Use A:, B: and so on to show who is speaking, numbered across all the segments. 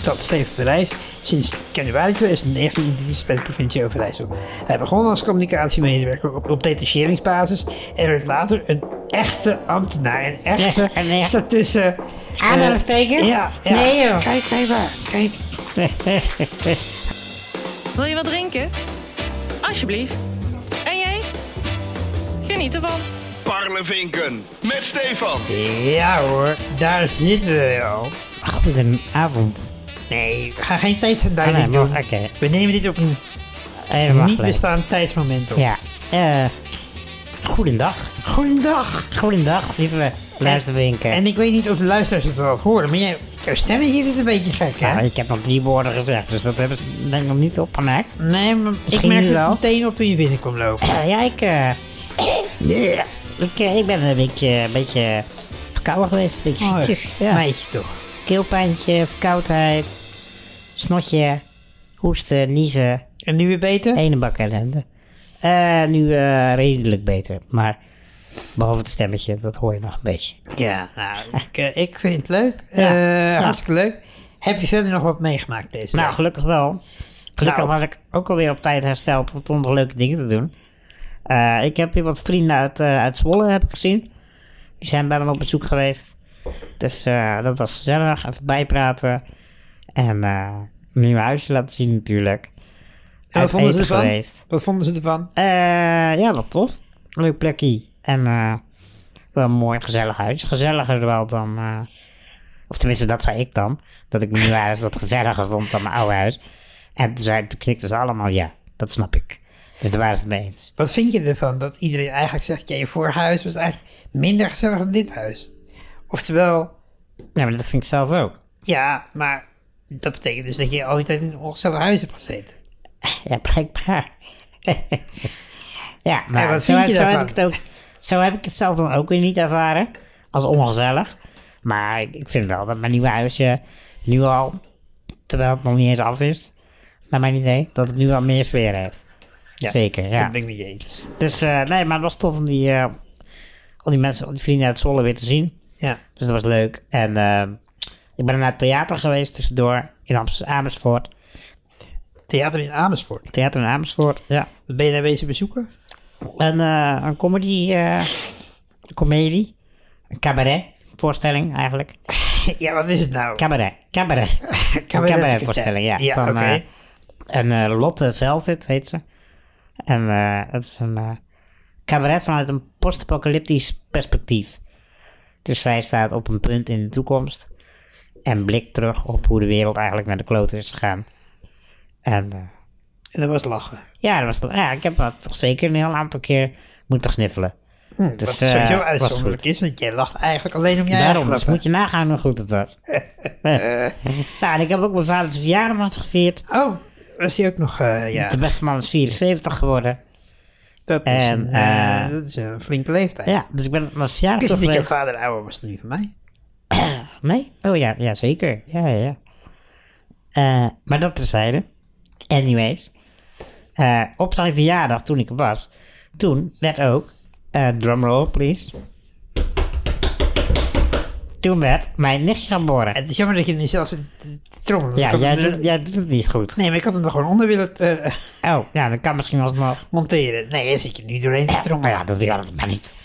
A: stad Stevenverijs sinds januari 2019 in dienst bij de provincie Overijssel. Hij begon als communicatiemedewerker op, op detacheringsbasis en werd later een echte ambtenaar. Een echte
B: Ja, een echt-
A: staat tussen... eh,
B: Aanhalingstekens?
A: ja, ja.
B: Nee joh.
A: Kijk, kijk maar. Kijk.
C: Wil je wat drinken? Alsjeblieft. En jij? Geniet ervan.
D: Parlevinken met Stefan.
A: Ja hoor, daar zitten we al.
B: Goedenavond.
A: Nee, ga geen tijdsverduiding
B: Ah, nee,
A: doen.
B: maar- oké.
A: We nemen dit op een
B: Even wachten.
A: niet bestaand tijdsmoment op.
B: Ja. Eh. goedendag.
A: Goedendag.
B: Goedendag, lieve luisterwinken.
A: En ik weet niet of de luisteraars het wel horen, maar jij, jouw stem hier is een beetje gek, hè?
B: Nou, ik heb nog drie woorden gezegd, dus dat hebben ze denk ik nog niet opgemerkt.
A: Nee, maar ik
B: Misschien
A: merk
B: nu
A: het
B: wel.
A: meteen op toen je binnenkomt lopen.
B: Eh, ja, ik, eh, eh, ik, eh, ik ben een beetje, een beetje verkouden geweest, een beetje
A: Oh,
B: ziekjes. ja.
A: Meisje toch.
B: Keelpijntje, verkoudheid, snotje, hoesten, niezen,
A: En nu weer beter?
B: ene bak ellende. Eh, nu eh, redelijk beter, maar behalve het stemmetje, dat hoor je nog een beetje.
A: Ja, nou, ik, eh, ik vind het leuk.
B: Ja.
A: Eh,
B: Ja.
A: Hartstikke leuk. Heb je verder nog wat meegemaakt deze
B: Nou,
A: week?
B: gelukkig wel. Gelukkig
A: Nou.
B: was ik ook alweer op tijd hersteld om toch nog leuke dingen te doen. Eh, ik heb hier wat vrienden uit, eh, uit Zwolle heb ik gezien. Die zijn bij me op bezoek geweest. Dus eh, dat was gezellig. Even bijpraten. En eh mijn nieuwe huisje laten zien natuurlijk.
A: En wat
B: uit
A: vonden ze
B: eten
A: ervan?
B: geweest.
A: Wat vonden ze ervan?
B: Eh, ja, wat tof. Leuk plekje. En eh, wel een mooi gezellig huis. Gezelliger wel dan... eh, of tenminste, dat zei ik dan. Dat ik mijn nieuwe huis wat gezelliger vond dan mijn oude huis. En toen, zei, toen knikten ze allemaal ja. Dat snap ik. Dus daar waren ze het mee eens.
A: Wat vind je ervan dat iedereen eigenlijk zegt, ja, je vorige huis was eigenlijk minder gezellig dan dit huis? Oftewel,
B: Ja, maar dat vind ik zelf ook.
A: Ja, maar dat betekent dus dat je al die tijd in een ongezellig huis hebt gezeten.
B: Ja, blijkbaar. ja, maar
A: En wat
B: zo,
A: vind je
B: zo heb
A: daarvan?
B: ik het ook, zo heb ik het zelf dan ook weer niet ervaren. Als ongezellig. Maar ik, ik vind wel dat mijn nieuwe huisje nu al, terwijl het nog niet eens af is, naar mijn idee, dat het nu al meer sfeer heeft. Zeker, ja.
A: Dat ben ik niet eens.
B: Dus eh, nee, maar het was tof om die, eh, al die mensen, al die vrienden uit Zwolle weer te zien.
A: Ja.
B: Dus dat was leuk. En ehm, ik ben naar het theater geweest tussendoor in Amst- Amersfoort.
A: Theater in Amersfoort.
B: Theater in Amersfoort, ja.
A: Wat ben je daar wezen bezoeken?
B: een, eh, een comedy, eh, een comedie, een cabaret voorstelling eigenlijk.
A: ja, wat is het nou?
B: Cabaret, cabaret. Een cabaret voorstelling, ja.
A: Ja,
B: Van,
A: oké.
B: eh, en eh, Lotte Velvet heet ze. En eh, het is een eh, cabaret vanuit een post-apocalyptisch perspectief. Dus zij staat op een punt in de toekomst en blikt terug op hoe de wereld eigenlijk naar de klote is gegaan. En eh,
A: En dat was lachen.
B: ja, dat was, toch- ja, ik heb dat toch zeker een heel aantal keer moeten sniffelen.
A: Dat wat
B: eh,
A: dus sowieso
B: was
A: uitzonderlijk is, want jij lacht eigenlijk alleen om jij
B: Daarom, dus moet je nagaan hoe goed het was.
A: Eh.
B: nou, en ik heb ook mijn vaders verjaardag gevierd.
A: Oh, was die ook nog, eh, ja.
B: De beste man is 74 geworden.
A: Dat is,
B: En,
A: een, eh,
B: eh,
A: dat is een flinke leeftijd.
B: Ja, dus ik ben op mijn verjaardag
A: Ik wist niet dat
B: geweest.
A: jouw vader ouder was dan die van mij.
B: Nee? Oh ja, ja zeker. Ja, ja, ja. Eh, maar dat terzijde. Anyways. Eh, op zijn verjaardag, toen ik er was, toen werd ook, eh, drumroll please. Toen werd mijn nichtje geboren.
A: Het is jammer dat je nu zelf zit te- te trommelen. Ik
B: ja,
A: had
B: jij
A: hem er-
B: doet, jij doet het niet goed.
A: Nee, maar ik had hem er gewoon onder willen eh,
B: Oh, ja, dat kan misschien alsnog.
A: monteren. Nee, daar zit je nu doorheen te trommelen.
B: Nou ja, dat wil ik maar niet.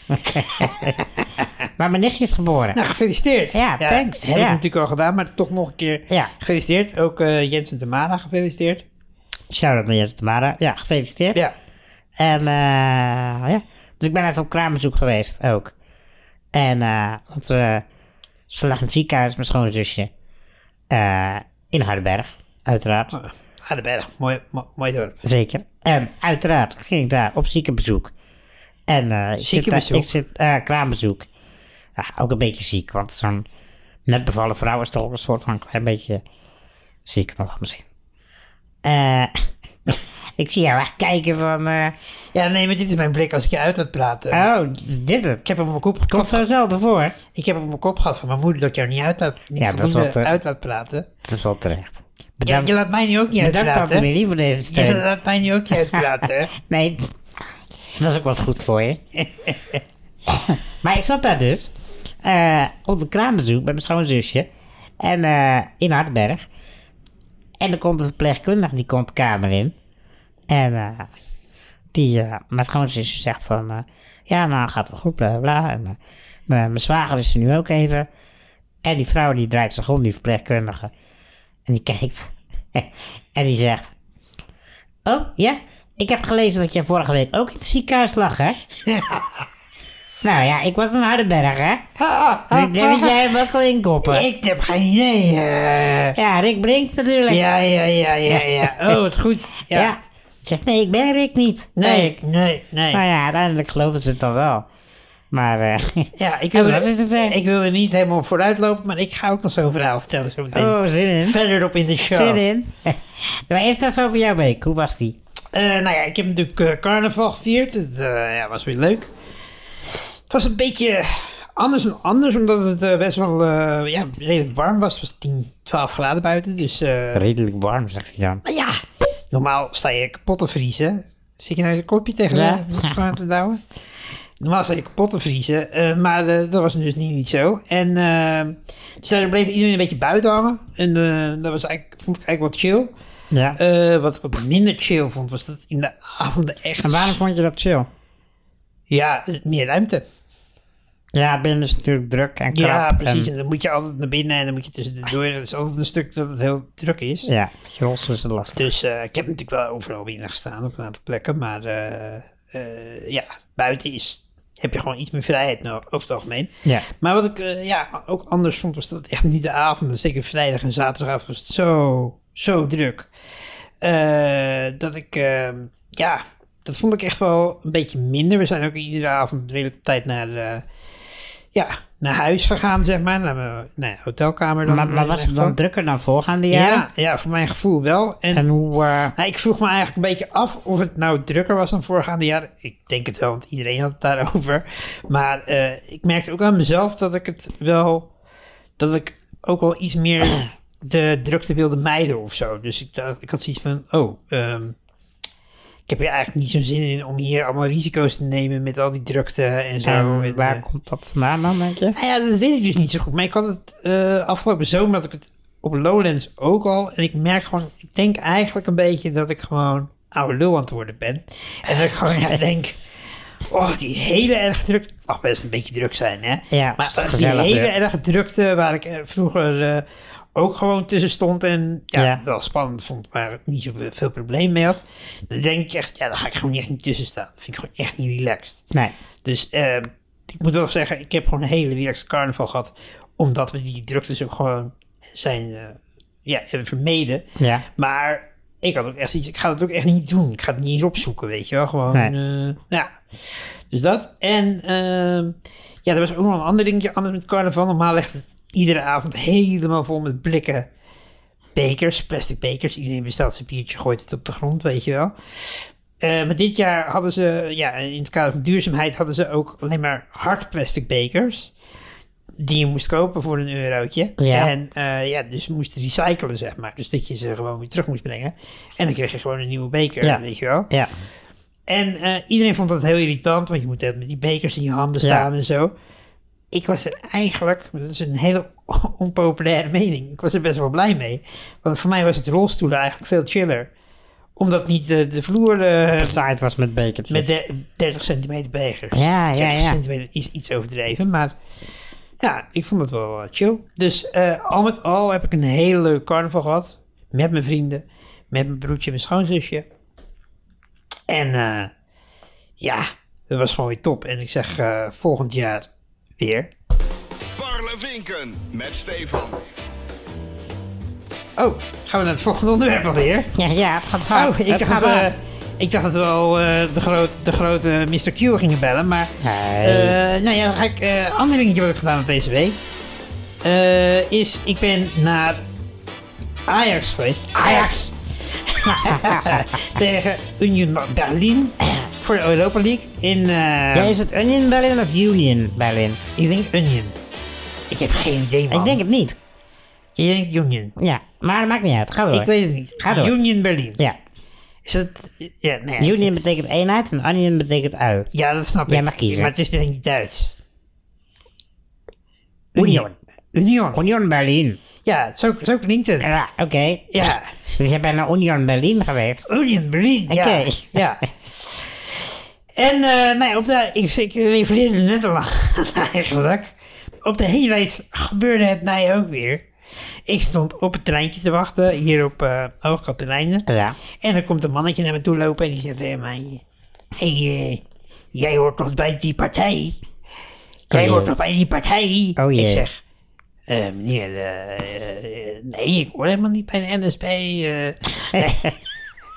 B: maar mijn nichtje is geboren.
A: Nou, gefeliciteerd.
B: Ja, thanks.
A: Heb ik
B: Ja.
A: natuurlijk al gedaan, maar toch nog een keer
B: Ja.
A: gefeliciteerd. Ook eh Jensen de Mana gefeliciteerd.
B: Shout-out naar Jesse Tamara. Ja, gefeliciteerd.
A: Ja.
B: En eh, ja, dus ik ben even op kraambezoek geweest ook. En eh, want eh, ze lag in het ziekenhuis, mijn schoonzusje. Eh, in Hardenberg, uiteraard.
A: Ah, de berg. Mooi, mo- mooi dorp.
B: Zeker. En uiteraard ging ik daar op ziekenbezoek. En eh, ik zit, daar-
A: Ziekenbezoek?
B: ik zit eh, kraambezoek. Ja, ook een beetje ziek, want zo'n net bevallen vrouw is toch een soort van een beetje ziek nog misschien. Eh, ik zie jou echt kijken van, eh,
A: Ja, nee, maar dit is mijn blik als ik je uit laat praten.
B: oh, is dit het?
A: Ik heb hem op mijn kop,
B: Komt zo zelden voor.
A: ik heb hem op mijn kop gehad van mijn moeder dat ik jou niet, uit laat, niet
B: Ja, dat is
A: voldoende
B: wat, eh,
A: uit laat praten.
B: Dat is wel terecht.
A: Ja,
B: Bedankt,
A: je laat mij nu ook niet
B: bedankt
A: uitpraten.
B: tante Millie voor deze
A: Je
B: steun.
A: laat mij nu ook niet uitpraten. hè?
B: Nee, dat was ook wel eens goed voor je. maar ik zat daar dus eh, op de kraambezoek bij mijn schoonzusje en, eh, in Hardenberg. En er komt een verpleegkundige, die komt de kamer in. En eh, die, eh, mijn schoonzus zegt van, eh, ja, nou gaat het goed, bla bla, bla. En, eh, mijn mijn zwager is er nu ook even. En die vrouw die draait zich om, die verpleegkundige. En die kijkt. en die zegt, oh ja, ik heb gelezen dat je vorige week ook in het ziekenhuis lag, hè? nou ja, ik was in Hardenberg, hè?
A: Ah,
B: Dus
A: ah,
B: ik denk dat
A: ah,
B: jij hem ook wil inkoppen.
A: Ik heb geen idee. eh.
B: Ja, Rick Brink natuurlijk.
A: ja, ja, ja, ja, ja. Oh, wat goed. Ja.
B: Ja. Zegt nee, ik ben Rick niet.
A: Nee, nee, nee.
B: Nou ja, uiteindelijk geloven ze het dan wel. Maar eh,
A: Ja, ik
B: En
A: wil,
B: dat is de vraag.
A: ik wil er niet helemaal op vooruit lopen, maar ik ga ook nog zo'n verhaal vertellen zo meteen.
B: oh, zin in.
A: Verder op in de show.
B: Zin in. maar eerst even over jouw week. Hoe was die?
A: Eh, nou ja, ik heb natuurlijk eh, carnaval gevierd. Het eh, ja, was weer leuk. Het was een beetje anders dan anders, omdat het eh, best wel eh, ja, redelijk warm was. Het was 10, 12 graden buiten. Dus eh,
B: Redelijk warm, zegt hij dan.
A: maar ja, normaal sta je kapot te vriezen. Zit je nou je kopje tegen
B: Ja.
A: de de schaar te douwen? Normaal sta je kapot te vriezen, eh, maar eh, dat was dus niet, niet zo. En eh, dus daar bleef iedereen een beetje buiten hangen. En eh, dat was eigenlijk, vond ik eigenlijk wat chill.
B: Ja.
A: Eh, wat ik wat minder chill vond, was dat in de avonden echt...
B: en waarom vond je dat chill?
A: Ja, meer ruimte.
B: Ja, binnen is het natuurlijk druk en krap.
A: Ja, precies.
B: en-
A: En dan moet je altijd naar binnen en dan moet je tussendoor. Dat is altijd een stuk dat het heel druk is.
B: ja, gros is het lastig.
A: Dus eh, ik heb natuurlijk wel overal binnen gestaan op een aantal plekken. Maar eh, eh, ja, buiten is, heb je gewoon iets meer vrijheid nou, over het algemeen.
B: Ja.
A: Maar wat ik eh, ja, ook anders vond, was dat echt nu de avonden, zeker vrijdag en zaterdagavond, was het zo, zo druk. Eh, dat ik, eh, ja, dat vond ik echt wel een beetje minder. We zijn ook iedere avond redelijk op tijd naar, eh, ja, naar huis gegaan, zeg maar. Naar mijn nou ja, hotelkamer dan.
B: Maar,
A: in
B: maar
A: mijn
B: was het
A: geval.
B: dan drukker dan voorgaande jaren?
A: Ja, ja, voor mijn gevoel wel. En,
B: En hoe... eh,
A: nou, ik vroeg me eigenlijk een beetje af of het nou drukker was dan voorgaande jaren. Ik denk het wel, want iedereen had het daarover. Maar eh, ik merkte ook aan mezelf dat ik het wel. dat ik ook wel iets meer de drukte wilde mijden of zo. Dus ik, dacht, ik had zoiets van: oh, ehm, ik heb hier eigenlijk niet zo'n zin in om hier allemaal risico's te nemen met al die drukte en zo.
B: en
A: En,
B: waar
A: eh,
B: komt dat vandaan dan, denk je?
A: nou ja, dat weet ik dus niet zo goed. Maar ik had het eh, afgelopen zomer had ik het op Lowlands ook al. En ik merk gewoon, ik denk eigenlijk een beetje dat ik gewoon oude lul aan het worden ben. En dat ik gewoon echt denk, oh die hele erg druk. Het mag best een beetje druk zijn hè.
B: Ja,
A: maar
B: het is
A: die
B: gezellig
A: hele
B: druk.
A: erg drukte waar ik eh, vroeger eh, ook gewoon tussen stond. En ja,
B: Ja.
A: wel spannend vond, maar niet zo veel probleem mee had. Dan denk ik echt, ja daar ga ik gewoon echt niet tussen staan. Dat vind ik gewoon echt niet relaxed.
B: Nee.
A: Dus eh, ik moet wel zeggen, ik heb gewoon een hele relaxed carnaval gehad. Omdat we die druktes ook gewoon zijn eh, ja, hebben vermeden.
B: Ja.
A: Maar ik had ook echt iets, ik ga dat ook echt niet doen. Ik ga het niet eens opzoeken, weet je wel. Gewoon,
B: Nee.
A: eh, ja. Dus dat. En ehm, ja, er was ook nog een ander dingetje anders met carnaval. Normaal ligt het iedere avond helemaal vol met blikken bekers, plastic bekers. Iedereen bestelt zijn biertje, gooit het op de grond, weet je wel. Eh, maar dit jaar hadden ze, ja, in het kader van duurzaamheid, hadden ze ook alleen maar hard plastic bekers. Die je moest kopen voor een eurotje.
B: Ja.
A: En eh, ja, dus je moest recyclen, zeg maar. Dus dat je ze gewoon weer terug moest brengen. En dan kreeg je gewoon een nieuwe beker,
B: Ja.
A: weet je wel.
B: Ja.
A: En eh, iedereen vond dat heel irritant, want je moet altijd met die bekers in je handen
B: Ja.
A: staan en zo. Ik was er eigenlijk, dat is een hele onpopulaire mening, ik was er best wel blij mee. Want voor mij was het rolstoelen eigenlijk veel chiller. Omdat niet de, de vloer eh,
B: De site was met
A: met
B: bekertjes.
A: de, 30 centimeter beker.
B: Ja, ja,
A: 30
B: ja.
A: centimeter is iets overdreven, maar ja, ik vond het wel eh, chill. Dus eh, al met al heb ik een hele leuke carnaval gehad. Met mijn vrienden, met mijn broertje en mijn schoonzusje. En eh, ja, dat was gewoon weer top. En ik zeg eh, volgend jaar weer.
D: Parlevinken met Stefan.
A: Oh, gaan we naar het volgende onderwerp alweer?
B: Ja, ja, het gaat
A: Oh,
B: hard.
A: ik,
B: Het
A: dacht,
B: gaat
A: eh,
B: hard.
A: ik dacht dat we al eh, de, groot, de grote Mr. Q gingen bellen, maar...
B: Nee.
A: eh, nou ja, dan ga ik... eh ander dingetje wat ik gedaan heb deze week... eh, is, ik ben naar Ajax geweest. Ajax! Tegen Union Berlin voor de Europa League in... eh,
B: Ja, is het Union Berlin of Union Berlin?
A: Ik denk Union. Ik heb geen idee, man.
B: Ik denk het niet.
A: Je denkt Union.
B: Ja, maar dat maakt niet uit. Ga door.
A: Ik weet het niet.
B: Ga door.
A: Union Berlin.
B: Ja.
A: Is dat... Ja, nee.
B: Union betekent eenheid en Union betekent ui.
A: Ja, dat snap
B: Jij
A: ik.
B: mag kiezen.
A: Maar het is denk ik Duits.
B: Union.
A: Union.
B: Union Berlin.
A: Ja, zo, zo klinkt het.
B: Ja, oké.
A: Ja.
B: Dus je bent naar Union Berlin geweest.
A: Union Berlin, ja.
B: Oké.
A: ja. En eh, nou ja, op de, ik, ik refereerde net al aan eigenlijk. Op de heenreis gebeurde het mij ook weer. Ik stond op het treintje te wachten hier op eh Hoogkaterijnen.
B: Ja.
A: En dan komt een mannetje naar me toe lopen en die zegt "Eh, tegen mij... Hé, eh, jij hoort toch bij die partij? Jij
B: Oh,
A: hoort
B: jee.
A: toch bij die partij?
B: Oh,
A: Ik
B: jee.
A: zeg... eh, meneer, eh, eh, nee, ik hoor helemaal niet bij de NSB. eh."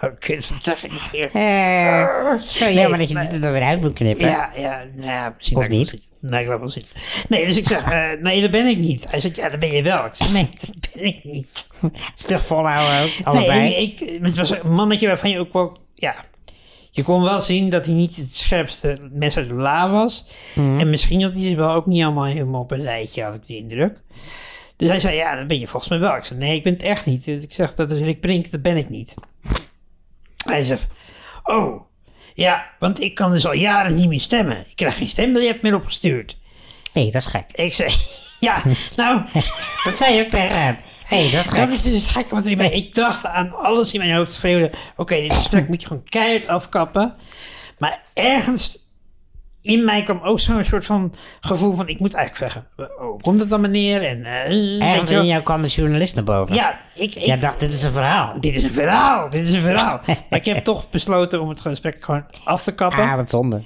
A: oh, kut, wat zeg ik nu weer?
B: Eh, zo
A: Nee,
B: jammer dat je
A: maar-
B: dit er weer uit moet knippen.
A: Ja, ja, nou ja, misschien
B: Of
A: dat ik
B: niet?
A: wel zit. Nee, ik laat wel zitten. Nee, dus ik zeg, eh, nee, dat ben ik niet. Hij zegt, ja, dat ben je wel. Ik zeg, nee, dat ben ik niet.
B: Stug volhouden ook, allebei.
A: Nee, ik, ik- het was een mannetje waarvan je ook wel, ja, je kon wel zien dat hij niet het scherpste mes uit de la was. En misschien had hij ze wel ook niet allemaal helemaal op een rijtje, had ik de indruk. Dus hij zei, ja, dat ben je volgens mij wel. Ik zei, nee, ik ben het echt niet. Ik zeg, dat is Rick Brink, dat ben ik niet. Hij zegt, oh, ja, want ik kan dus al jaren niet meer stemmen. Ik krijg geen stembiljet meer opgestuurd.
B: Nee, dat is gek.
A: Ik zei, ja, nou,
B: Dat zei je ook tegen hem. hey, dat is gek.
A: dat is dus het gekke wat er in mij... Ik dacht aan alles in mijn hoofd schreeuwde... Oké, dit gesprek moet je gewoon keihard afkappen. Maar ergens in mij kwam ook zo'n soort van gevoel van... Ik moet eigenlijk zeggen, oh, hoe komt het dan meneer? En, eh, weet
B: Ergens
A: je wel.
B: in jou kwam de journalist naar boven.
A: Ja, ik, ik
B: Jij dacht, dit is een verhaal.
A: dit is een verhaal, dit is een verhaal. maar ik heb toch besloten om het gesprek gewoon af te kappen.
B: Ah, wat zonde.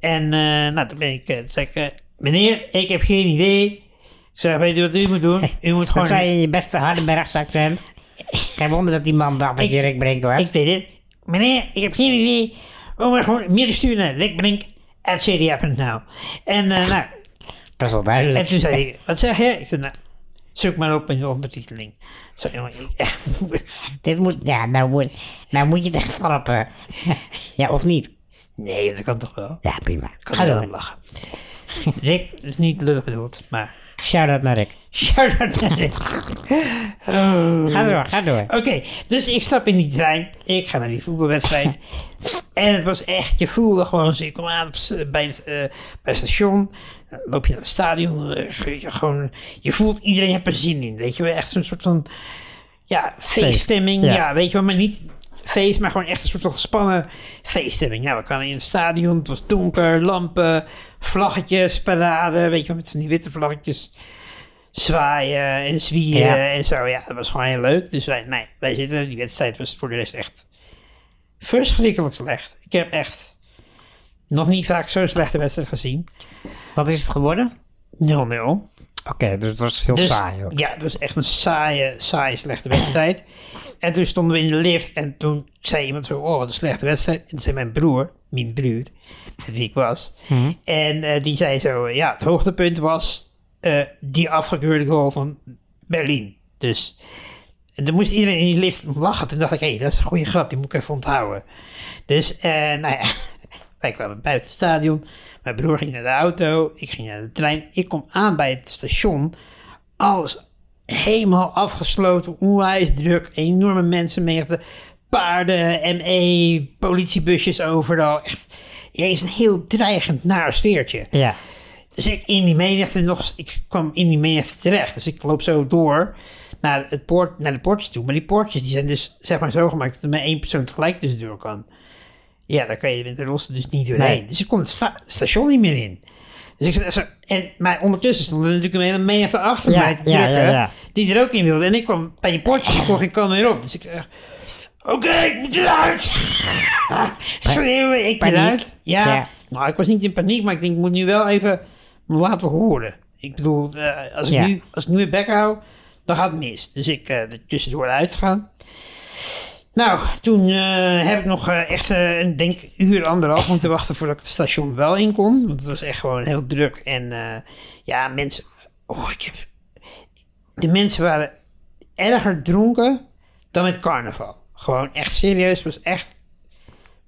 A: En eh, nou, toen ben ik, eh, toen zei ik... eh, meneer, ik heb geen idee. Ik zei, weet u wat u moet doen? U moet
B: Dat
A: gewoon...
B: zei je in je beste Hardenbergse accent. Geen wonder dat die man dacht dat
A: Ik-
B: je Rick Brink was.
A: Ik deed dit. Meneer, ik heb geen idee. We maar gewoon meer sturen naar Rick Brink at CDA.nl. En eh, nou,
B: dat is wel
A: en
B: duidelijk.
A: toen zei hij, wat zeg je? Ik zei, nou, zoek maar op in de ondertiteling. Zo, jongen, ik-
B: Dit moet, ja, nou moet, nou moet je het echt schrappen. ja, of niet?
A: nee, dat kan toch wel.
B: Ja, prima.
A: Ik
B: Ga
A: kan er om
B: door.
A: lachen. Rick is niet lullig bedoeld, maar...
B: Shout-out naar Rick.
A: Shout-out naar Rick. Oh.
B: Ga door, ga door.
A: Oké, dus ik stap in die trein. Ik ga naar die voetbalwedstrijd. en het was echt, je voelde gewoon, zo, je kom aan op, s- bij, het, eh, bij het station. Dan loop je naar het stadion. eh, weet je, gewoon, je voelt, iedereen heeft er zin in. Weet je wel, echt zo'n soort van, ja, feeststemming.
B: ja.
A: Ja. weet je wel, maar niet feest, maar gewoon echt een soort van gespannen feeststemming. Nou, we kwamen in het stadion. Het was donker, lampen, vlaggetjes, parade. Weet je wel, met van die witte vlaggetjes zwaaien en zwieren
B: Ja.
A: en zo. Ja, dat was gewoon heel leuk. Dus wij, nee, wij zitten, die wedstrijd was voor de rest echt verschrikkelijk slecht. Ik heb echt nog niet vaak zo'n slechte wedstrijd gezien. 0-0.
B: Wat is het geworden? Oké, dus het was heel
A: Dus,
B: saai ook.
A: Ja, het was echt een saaie, saaie slechte wedstrijd. en toen stonden we in de lift en toen zei iemand zo, oh wat een slechte wedstrijd. En toen zei mijn broer, mijn broer, met wie ik was.
B: Mhm.
A: En eh, die zei zo, ja het hoogtepunt was eh, die afgekeurde goal van Berlin. Dus, en dan moest iedereen in die lift om lachen. Toen dacht ik, hé hey, dat is een goede grap, die moet ik even onthouden. Dus, eh, nou ja, wij kwamen buiten het stadion. Mijn broer ging naar de auto, ik ging naar de trein. Ik kom aan bij het station alles helemaal afgesloten, onwijs druk, enorme mensenmenigte, paarden, ME, politiebusjes overal. Echt, jezus, een heel dreigend naar sfeertje.
B: Ja.
A: Dus ik in die menigte nog, ik kwam in die menigte terecht. Dus ik loop zo door naar, het poort, naar de poortjes toe. Maar die poortjes die zijn dus zeg maar zo gemaakt dat er maar één persoon tegelijk dus door kan. Ja, daar kan je met de rossen dus niet doorheen.
B: Nee.
A: Dus ik kon het sta- station niet meer in. Dus ik zat zo, en, maar ondertussen stond er natuurlijk een hele menigte achter
B: Ja,
A: mij te
B: ja, ja,
A: drukken.
B: ja.
A: Die er ook in wilde. En ik kwam bij die poortjes, ik kon geen kant meer op. Dus ik zeg, oké, ik moet eruit. Schreeuwen, ik
B: Paniek.
A: eruit. Ja.
B: Ja.
A: Nou, ik was niet in paniek, maar ik denk, ik moet nu wel even me laten horen. Ik bedoel, eh, als, ik
B: Ja.
A: nu, als ik nu mijn bek hou, dan gaat het mis. Dus ik eh er tussendoor uitgegaan. Nou, toen eh, heb ik nog eh, echt eh, een denk uur, anderhalf moeten wachten voordat ik het station wel in kon. Want het was echt gewoon heel druk. En eh, ja, mensen... Oh, ik heb... De mensen waren erger dronken dan met carnaval. Gewoon echt serieus, was echt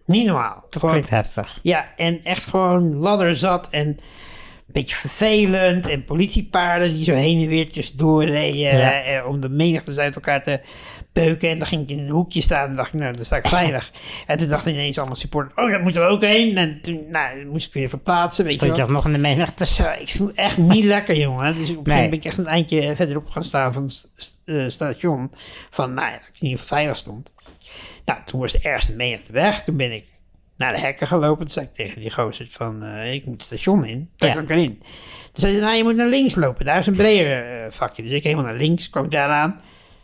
A: niet normaal.
B: Dat
A: Gewoon-
B: klinkt heftig.
A: ja, en echt gewoon ladderzat en een beetje vervelend. En politiepaarden die zo heen en weer tussendoor reden
B: Ja.
A: eh, om de menigtes uit elkaar te beuken. En dan ging ik in een hoekje staan en dacht ik, nou, dan sta ik veilig. En toen dachten ineens allemaal supporters, oh, dat moet er ook heen. En toen nou, moest ik weer verplaatsen, weet
B: Stond
A: je
B: je
A: wel.
B: alsnog in de menigte?
A: Zo, ik stond echt niet lekker, jongen. Dus op een gegeven
B: Nee.
A: moment ben ik echt een eindje eh, verderop gaan staan van het st- eh, station. Van, nou ja, dat ik in ieder geval veilig stond. Nou, toen was de ergste menigte weg. Toen ben ik naar de hekken gelopen. Toen zei ik tegen die gozer van, eh, ik moet het station in. Daar
B: Ja.
A: kan ik erin. Toen zei hij, nou, je moet naar links lopen. Daar is een breder eh, vakje. Dus ik helemaal naar links, kwam ik daaraan.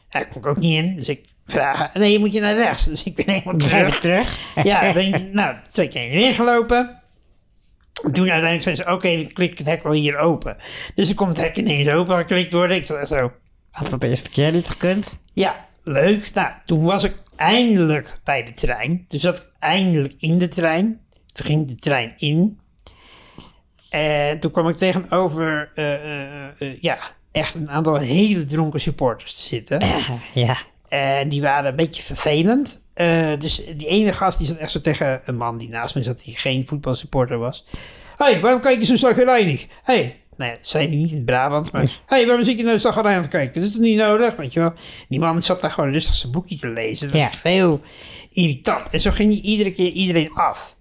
A: Hij kon ik ook niet in, dus ik vraag, nee, je moet je naar rechts. Dus ik ben helemaal
B: Zijn
A: terug.
B: we terug?
A: Ja, ben ik, nou, twee keer heen en weer gelopen. En Toen uiteindelijk zei ze, oké, dan klik ik het hek wel hier open. Dus dan komt het hek ineens open, dan klikt worden. Ik zei zo,
B: Had dat de eerste keer niet gekund?
A: ja, leuk. Nou, toen was ik eindelijk bij de trein. Dus zat ik eindelijk in de trein. Toen ging de trein in. En toen kwam ik tegenover, eh, eh, eh, eh, ja, echt een aantal hele dronken supporters te zitten.
B: Ja.
A: En die waren een beetje vervelend. Eh, dus die ene gast die zat echt zo tegen een man die naast me zat, die geen voetbalsupporter was. Hé, hey, waarom kijk je zo zagrijnig? Hé, hey. nou ja, dat zei hij niet in het Brabant, maar... Hé, hey, waarom zit je nou zagrijnig aan het kijken? Dat is toch niet nodig, weet je wel? Die man zat daar gewoon rustig zijn boekje te lezen. Dat was
B: Ja.
A: echt heel irritant. En zo ging hij iedere keer iedereen af.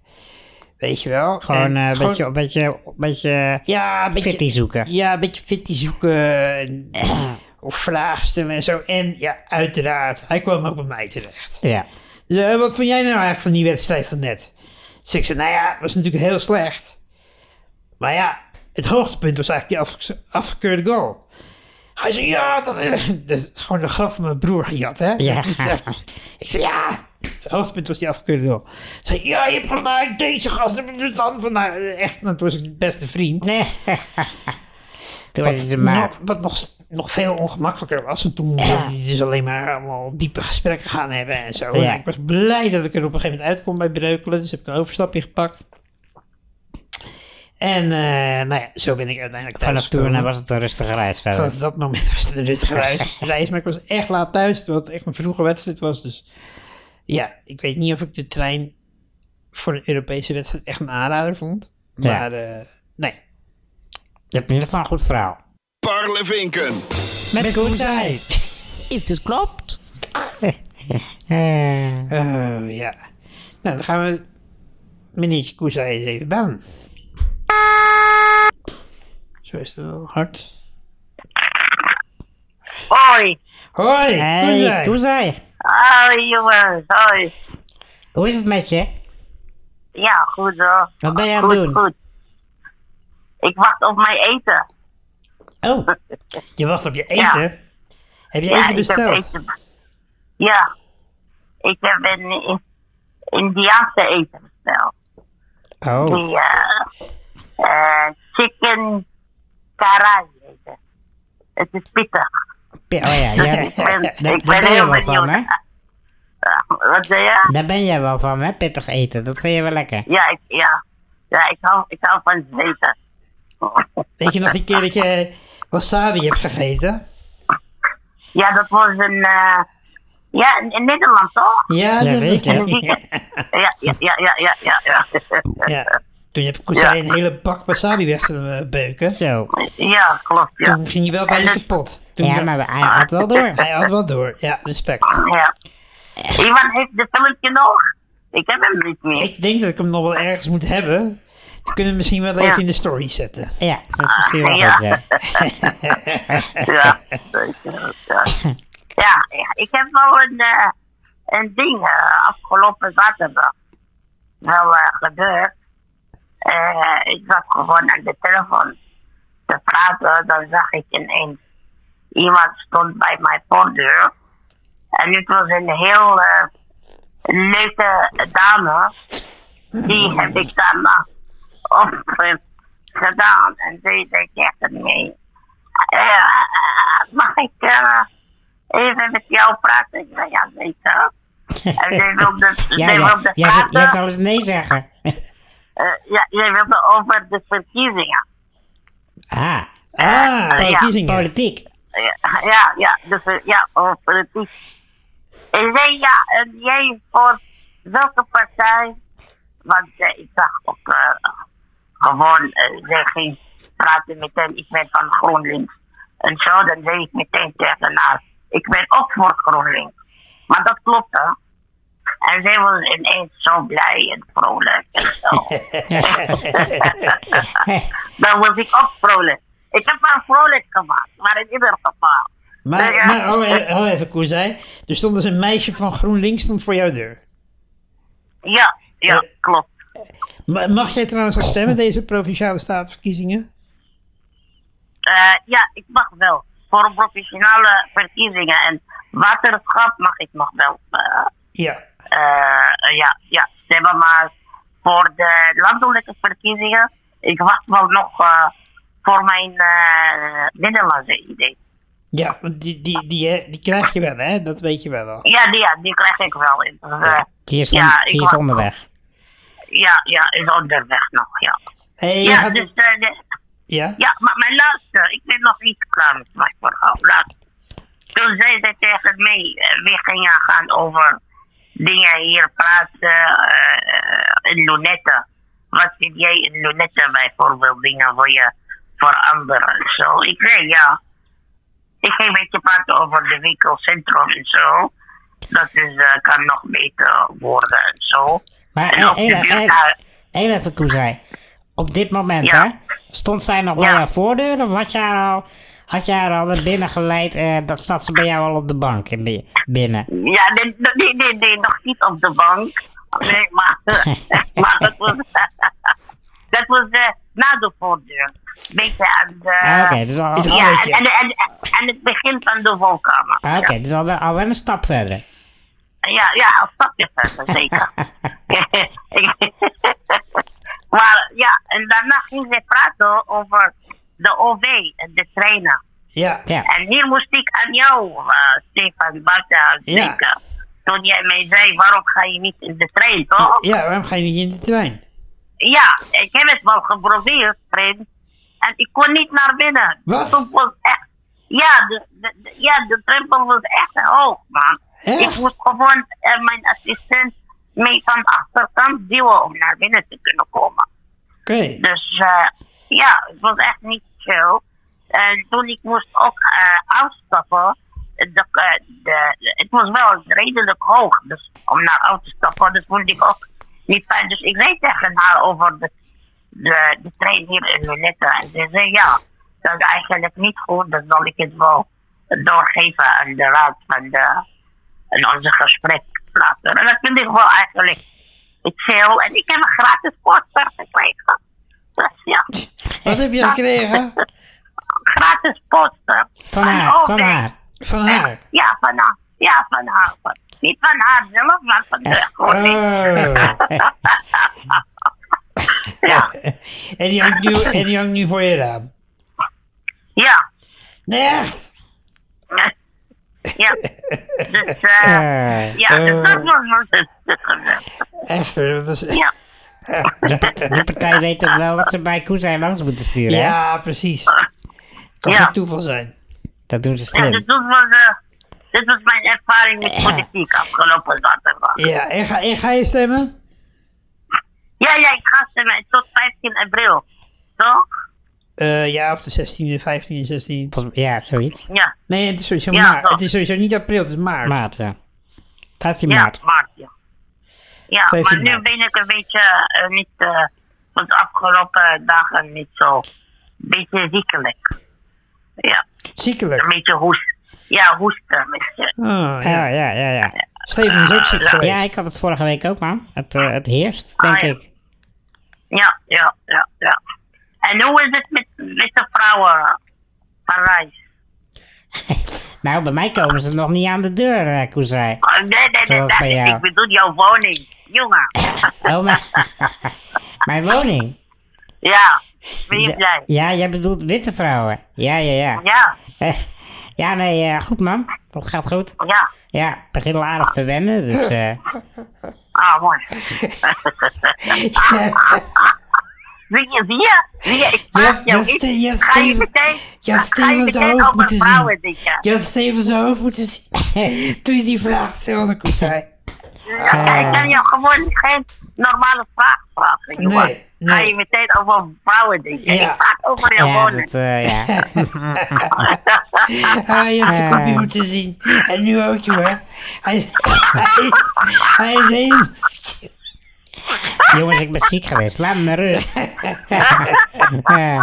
A: Weet je wel?
B: Gewoon
A: En
B: eh, een beetje, een beetje, een beetje
A: Ja, een beetje...
B: fitty zoeken.
A: Ja, een beetje fitty zoeken. en- of vragen stellen en zo. En ja, uiteraard, hij kwam ook bij mij terecht.
B: Ja.
A: Dus, eh, wat vond jij nou eigenlijk van die wedstrijd van net? Dus ik zei, nou ja, het was natuurlijk heel slecht. Maar ja, het hoogtepunt was eigenlijk die afge- afgekeurde goal. Hij zei, ja, dat is, dat is gewoon de grap van mijn broer gejat, hè?
B: Ja.
A: Dat is echt- ik zei, ja, het hoogtepunt was die afgekeurde goal. Hij zei, ja, je hebt gelijk, deze gast, dat is dan van, nou, echt, want toen was ik de beste vriend.
B: Nee. Toen was het de maat.
A: Nog- wat nog, nog veel ongemakkelijker was. Want toen wilde hij dus alleen maar allemaal diepe gesprekken gaan hebben en zo.
B: Ja.
A: En ik was blij dat ik er op een gegeven moment uitkom bij Breukelen. Dus heb ik een overstapje gepakt. En eh, nou ja, zo ben ik uiteindelijk thuis
B: Vanaf toen eh,
A: gekomen.
B: was het een rustige reis verder.
A: Vanaf dat moment was het een rustige reis, reis. Maar ik was echt laat thuis, terwijl het echt een vroege wedstrijd was. Dus ja, ik weet niet of ik de trein voor een Europese wedstrijd echt een aanrader vond.
B: Ja.
A: Maar eh, nee.
B: Je hebt in ieder geval een goed verhaal.
D: Parlevinken.
A: Met, Met
E: Is dit klopt?
B: Eh,
A: Oh ja. Nou, dan gaan we meneertje Koeza eens even bellen. Zo is het wel hard.
F: Hoi.
A: Hoi,
B: hey,
A: Koezij.
B: Toezai.
F: Hoi jongens, hoi.
B: Hoe is het met je?
F: Ja, goed hoor.
B: Wat ben je aan het
F: goed,
B: doen?
F: Goed. Ik wacht op mijn eten.
B: Oh,
A: Je wacht op je eten.
F: Ja.
A: Heb je
F: ja,
A: eten besteld?
F: Ik heb eten. Ja. Ik heb een in- Indiaanse eten besteld.
B: oh.
F: Die eh, eh, chicken karai heet het. Het is pittig. Dus
B: Pi- Oh ja, ja.
F: Ik ben,
B: daar,
F: ik
B: daar
F: ben
B: ben
F: heel
B: jij wel van,
F: benieuwd.
B: hè?
F: Ja, wat zei je?
B: Daar ben jij wel van, hè? Pittig eten. Dat vind je wel lekker.
F: Ja, ik, ja. ja ik, hou, ik hou van het eten.
A: Weet je nog die keer dat je wasabi hebt gegeten?
F: Ja, dat was een. eh ja, in, in Nederland toch?
A: Ja, dat
B: Jazeker.
A: Ja.
F: Ja, ja, ja, ja, ja, ja. ja.
A: Ja. Toen heb Koezij
F: Ja.
A: een hele bak wasabi weg te beuken.
B: Zo.
F: Ja, klopt, ja.
A: Toen ging je wel bijna
F: En dat-
A: kapot. Toen
B: Ja, maar hij had wel door.
A: Hij had wel door. Ja, respect.
F: ja. Iemand heeft de filmpje nog? Ik heb hem niet meer.
A: Ik denk dat ik hem nog wel ergens moet hebben. Dan kunnen we misschien wel even
F: Ja.
A: in de story zetten.
B: Ja, dat is misschien wel
F: Ja.
B: goed, ja.
F: Ja, zeker, ja. ja, ja, ik heb wel een, eh, een ding eh, afgelopen zaterdag wel eh, gebeurd. Eh, ik zat gewoon aan de telefoon te praten, dan zag ik ineens iemand stond bij mijn voordeur. En het was een heel eh, leuke dame. Die heb ik daarna op eh, gedaan. En die zei tegen mij, eh, mag ik eh, even met jou praten? Ik zei, ja, zeker. En zij wilde,
B: Ja,
F: zij
B: ja.
F: wilde
B: Jij, zou- jij
F: praten.
B: zal eens nee zeggen.
F: Eh, ja, jij wilde over de verkiezingen.
B: Ah,
A: Ah, verkiezingen.
B: politiek.
F: Ja, ja, ja, dus, eh, ja over politiek. En jij, ja, en jij voor welke partij? Want eh, ik zag ook eh, gewoon, eh, zij ging praten meteen, ik ben van GroenLinks. En zo, dan zei ik meteen tegen haar, ik ben ook voor GroenLinks. Maar dat klopte. En zij was ineens zo blij en vrolijk en zo. Dan was ik ook vrolijk. Ik heb haar vrolijk gemaakt, maar in ieder geval.
A: Maar,
F: Ja.
A: maar oh, even, oh, even Koezij. Er stond dus een meisje van GroenLinks stond voor jouw deur.
F: Ja, ja,
A: Eh.
F: klopt.
A: Ma- Mag jij trouwens nog
F: Oh.
A: stemmen deze provinciale statenverkiezingen?
F: Eh, ja, ik mag wel. Voor professionele verkiezingen en waterschap mag ik nog wel. eh,
A: Ja.
F: eh, ja, ja, stemmen. Maar voor de landelijke verkiezingen, ik wacht wel nog eh, voor mijn eh, binnenlandse idee.
A: Ja, want die, die, die, hè, die krijg je wel, hè? Dat weet je wel al.
F: Ja, die, ja, die krijg ik wel. Dus, eh,
B: Die is, on-
F: Ja, ik
B: die is
F: wacht
B: onderweg.
F: ja, ja, is onderweg nog, ja.
A: Hey, jij
F: Ja,
A: gaat-
F: dus, eh, de-
A: ja?
F: ja, maar mijn laatste, ik ben nog niet klaar met mijn verhaal. Laat. Toen zei ze tegen mij, eh, we gingen gaan over dingen hier praten eh, eh, in lunetten. Wat vind jij in lunetten bijvoorbeeld, dingen voor je veranderen en zo. Ik zei ja, ik ging een beetje praten over de winkelcentrum en zo. Dat is, eh, kan nog beter worden en zo.
B: Maar
F: En op
B: eh,
F: de
B: eh, eh,
F: buurt-
B: Heel even, Koezij. Op dit moment,
F: Ja.
B: hè? Stond zij nog bij
F: Ja.
B: jouw voordeur? Of had je haar al, had je haar al naar binnen geleid? eh, dat zat ze bij jou al op de bank in bi- binnen.
F: Ja, nee, nee, nee, nee, nog niet op de bank. Nee, maar, maar dat was, dat was eh, na de voordeur. Beetje aan de...
B: Ah, Oké, dus al, al-
F: ja, en, en, en, en het begin van de woonkamer.
B: ah, oké, dus al, wel- al wel een stap verder.
F: Ja, ja, als stapje verder, zeker. maar ja, en daarna ging ze praten over de OV en de treinen.
A: Ja.
B: Ja.
F: En hier moest ik aan jou, eh, Stefan Barta,
A: Ja.
F: denken. Toen jij mij zei, waarom ga je niet in de trein, toch?
A: Ja, waarom ga je niet in de trein?
F: Ja, ik heb het wel geprobeerd, vriend. En ik kon niet naar binnen.
A: Wat?
F: De stoep was echt... Ja, de, de, de- ja, de drempel was echt hoog, man.
A: Echt?
F: Ik moest gewoon eh, mijn assistent mee van de achterkant duwen om naar binnen te kunnen komen.
A: Oké.
F: Dus eh, ja, het was echt niet chill. En toen ik moest ook eh, uitstappen, de, eh, de, het was wel redelijk hoog dus, om naar uit te stappen. Dat vond ik ook niet fijn. Dus ik zei tegen haar over de, de, de trein hier in Lunette. En ze zei ja, dat is eigenlijk niet goed. Dan zal ik het wel doorgeven aan de raad van de, in onze gesprek later. En dat vind ik wel eigenlijk chill. En ik heb een gratis postkaart gekregen. Dus ja,
A: Wat heb je gekregen?
F: gratis postkaart.
B: Van
F: En
B: haar,
F: ook
B: van
F: een-
B: haar.
A: Van haar.
F: Ja, van haar. Ja, van haar. Van- Niet van haar zelf, maar van de koning.
A: Oh.
F: Ja,
A: En die hangt nu, en die hangt nu voor je raam.
F: ja.
A: Nee, echt?
F: Ja. Dus, eh
B: Eh,
F: ja, dus
A: eh.
F: dat was wat het gebeurde.
A: Echt hoor, dat is...
F: Ja.
B: die partij weet toch wel wat ze bij Koezij langs moeten sturen, hè?
A: Ja, precies. Kan
F: Ja.
A: geen toeval zijn.
B: Dat doen ze
F: Ja, dus
B: slim.
F: dat was, eh, dit was mijn ervaring met politiek afgelopen zaterdag.
A: Ja, en ga, en ga je stemmen?
F: Ja, ja, ik ga stemmen tot 15 april. Toch?
A: Eh, ja, of de 16e, 15e, 16e.
B: Volgens- Ja, zoiets.
F: Ja,
A: Nee, het is sowieso
F: Ja,
A: maart.
F: toch.
A: Het is sowieso niet april, het is maart.
B: Maart, ja. 15
F: ja,
B: maart.
F: maart, ja. Ja,
A: 15
F: maar nu
A: maart.
F: ben ik een beetje eh, niet, eh, van de afgelopen dagen niet zo, een beetje ziekelijk. Ja, een
A: Ziekelijk.
F: beetje hoest. Ja, hoesten. Misschien.
A: Oh,
B: Oh,
A: ja.
B: ja, ja, ja.
A: Steven is ook ziek geweest.
B: Ja, ik had het vorige week ook, man. Het, eh, het heerst, denk
F: Ah, ja.
B: ik.
F: Ja, ja, ja, ja. En hoe is het met, met de vrouwen van Rijs?
B: Nou, bij mij komen ze nog niet aan de deur, eh, Koezij.
F: Oh, Nee, nee, nee,
B: Zoals
F: dat
B: bij
F: is-
B: jou.
F: ik bedoel jouw woning, jongen.
B: Oh, mijn, mijn woning.
F: ja, wie is
B: Ja,
F: jij?
B: Ja, jij bedoelt witte vrouwen. Ja, ja, ja.
F: Ja,
B: Eh, ja, nee, eh, goed man. Dat gaat goed.
F: ja.
B: Ja, ik begin al aardig te wennen, dus... eh,
F: Ah, mooi. Zie je, zie je? Zie je, Ah, ik
A: Ja,
F: maak jou
A: ja,
F: iets.
A: Ste- ja,
F: ga je
A: Steven-
F: meteen,
A: ja,
F: ga je
A: Steven zou
F: meteen
A: ook
F: over
A: moeten zien.
F: vrouwen denken.
A: Je had Steven zijn hoofd moeten zien toen je die vraag stelde, Koet zei.
F: Ja, ik kan jou gewoon geen normale vraag vragen, jongen.
A: Nee,
F: Ga
A: nee.
F: je meteen over vrouwen denken.
A: Ja.
F: Ik praat over jouw
B: Ja,
F: woning.
B: dat, eh, ja.
A: Ah, je had zijn
B: Eh.
A: kopje moeten zien. En nu ook, jongen. Hij is, hij is, hij is helemaal stil.
B: Jongens, ik ben ziek geweest. Laat me met rust. Eh,
A: Eh,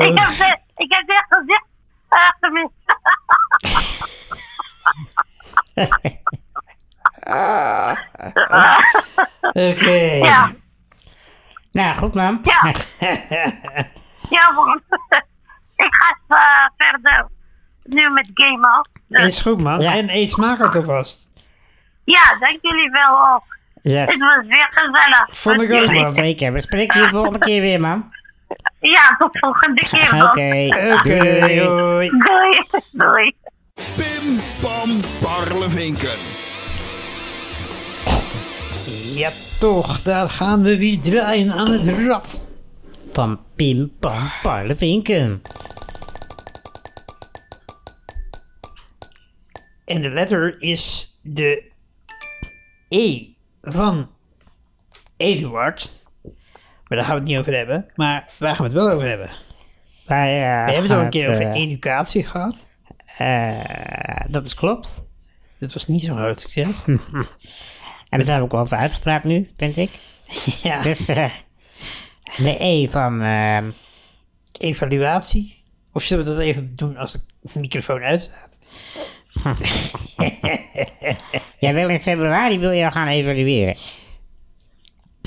F: Ik heb, ze- ik heb dit gezegd. eh, gemist.
A: Oké.
F: Ja,
B: nou, goed man.
F: Ja. ja, man. Ik ga eens, eh, verder nu met gamen. Dus,
A: Is goed, man.
B: Ja.
A: En eet smakelijk alvast.
F: ja, dank jullie wel ook. Het
B: Yes.
F: was weer gezellig.
A: Vond ik
F: met
A: ook,
F: jullie.
A: man.
B: Zeker. We spreken je de volgende keer weer, man.
F: Ja, tot volgende keer.
B: Oké.
F: man.
A: Oké,
B: Doei.
A: hoi.
F: Doei. Doei.
D: Pim Pam Parlevinken.
A: Ja, toch. Daar gaan we weer draaien aan het rad.
B: Van Pim Pam Parlevinken.
A: En de letter is de E van Eduard. Maar daar gaan we het niet over hebben. Maar waar gaan we het wel over hebben?
B: Wij, eh,
A: We hebben het
B: gaan
A: al een keer over
B: eh,
A: educatie gehad.
B: eh, dat is klopt.
A: Dat was niet zo'n groot succes.
B: En daar zijn we ook wel over uitgepraat nu, vind ik.
A: ja,
B: Dus eh, de E van... ehm,
A: evaluatie. Of zullen we dat even doen als de microfoon uitstaat?
B: jij wil in februari wil je gaan evalueren.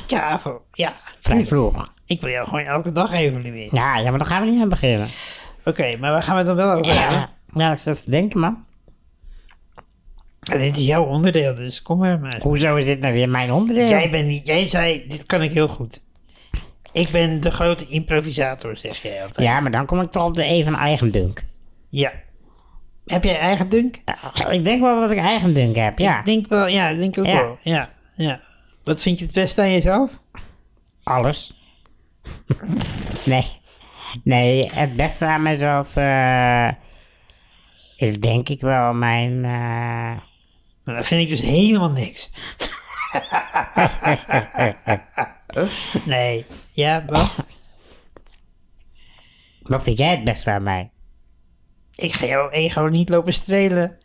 A: Ja, voor, ja.
B: Vrij vroeg.
A: Ik wil jou gewoon elke dag evalueren.
B: Nou, Ja, ja, maar daar gaan we niet aan beginnen.
A: Oké, maar waar gaan we het dan wel over hebben?
B: Ja, nou, ik zat te denken, man.
A: En dit is jouw onderdeel, dus kom maar maar.
B: Hoezo is dit nou weer mijn onderdeel?
A: Jij, bent niet, jij zei, dit kan ik heel goed. Ik ben de grote improvisator, zeg jij altijd.
B: Ja, maar dan kom ik toch op de E van eigendunk.
A: Ja. Heb jij eigen dunk?
B: Eh, Ik denk wel dat ik eigendunk heb, ja.
A: Ik denk wel, ja, ik denk ook
B: Ja.
A: wel. Ja, ja. Wat vind je het beste aan jezelf?
B: Alles. nee. Nee, het beste aan mezelf eh, is denk ik wel mijn... eh,
A: Nou, dat vind ik dus helemaal niks.
B: eh,
A: nee. Ja, wel.
B: wat vind jij het beste aan mij?
A: Ik ga jouw ego niet lopen strelen.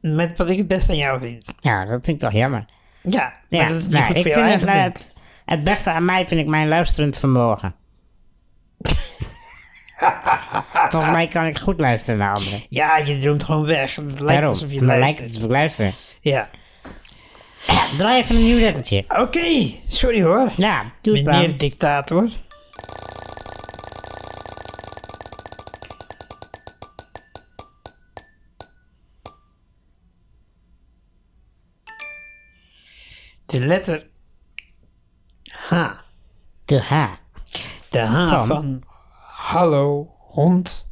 A: Met wat ik het beste aan jou vind.
B: Ja, dat vind ik toch jammer.
A: Ja, maar
B: Ja,
A: dat is niet
B: nou,
A: goed
B: ik
A: voor
B: vind
A: jou
B: het,
A: eigen
B: nou,
A: dunk.
B: het, het beste aan mij vind ik mijn luisterend vermogen. Volgens mij kan ik goed luisteren naar anderen.
A: Ja, je droomt gewoon weg. Het lijkt
B: Daarom,
A: alsof je
B: dan
A: luistert.
B: lijkt het alsof ik luister.
A: Ja.
B: Draai even een nieuw lettertje.
A: Oké, sorry hoor.
B: Ja, doe het
A: Meneer
B: dan.
A: dictator. De letter H.
B: De H.
A: De H
B: Van?
A: van, hallo hond.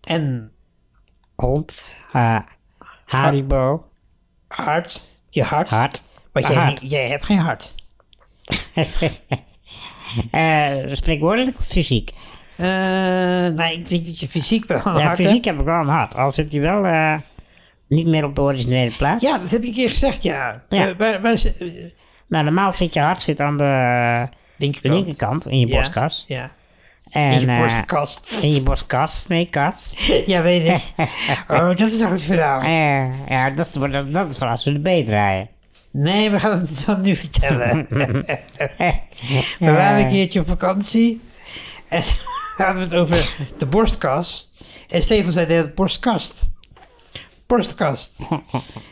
A: En
B: Hond. eh, Haribo.
A: hart. Je hart.
B: Hart.
A: Want jij,
B: Hart.
A: niet- jij hebt geen hart.
B: Eh, spreekwoordelijk of fysiek?
A: Eh, nee, ik denk dat je fysiek wel een
B: Ja,
A: hart
B: fysiek
A: hebt.
B: heb ik wel een hart. Al zit hij wel eh, niet meer op de originele plaats.
A: Ja, dat heb je een keer gezegd, ja.
B: Ja.
A: Eh, waar- waar is- eh,
B: Nou, normaal zit je hart zit aan de, eh, de
A: linkerkant.
B: linkerkant in je
A: Ja,
B: borstkas.
A: Ja.
B: En,
A: In je
B: eh,
A: borstkast.
B: in je borstkas, nee, kas.
A: ja, weet ik. Oh, dat is een goed verhaal.
B: Eh, ja, dat is, dat, dat is voor als we de B draaien.
A: Nee, we gaan het dan nu vertellen. We waren een keertje op vakantie. En hadden we het over de borstkas. En Stefan zei de hele tijd, borstkast. Borstkast.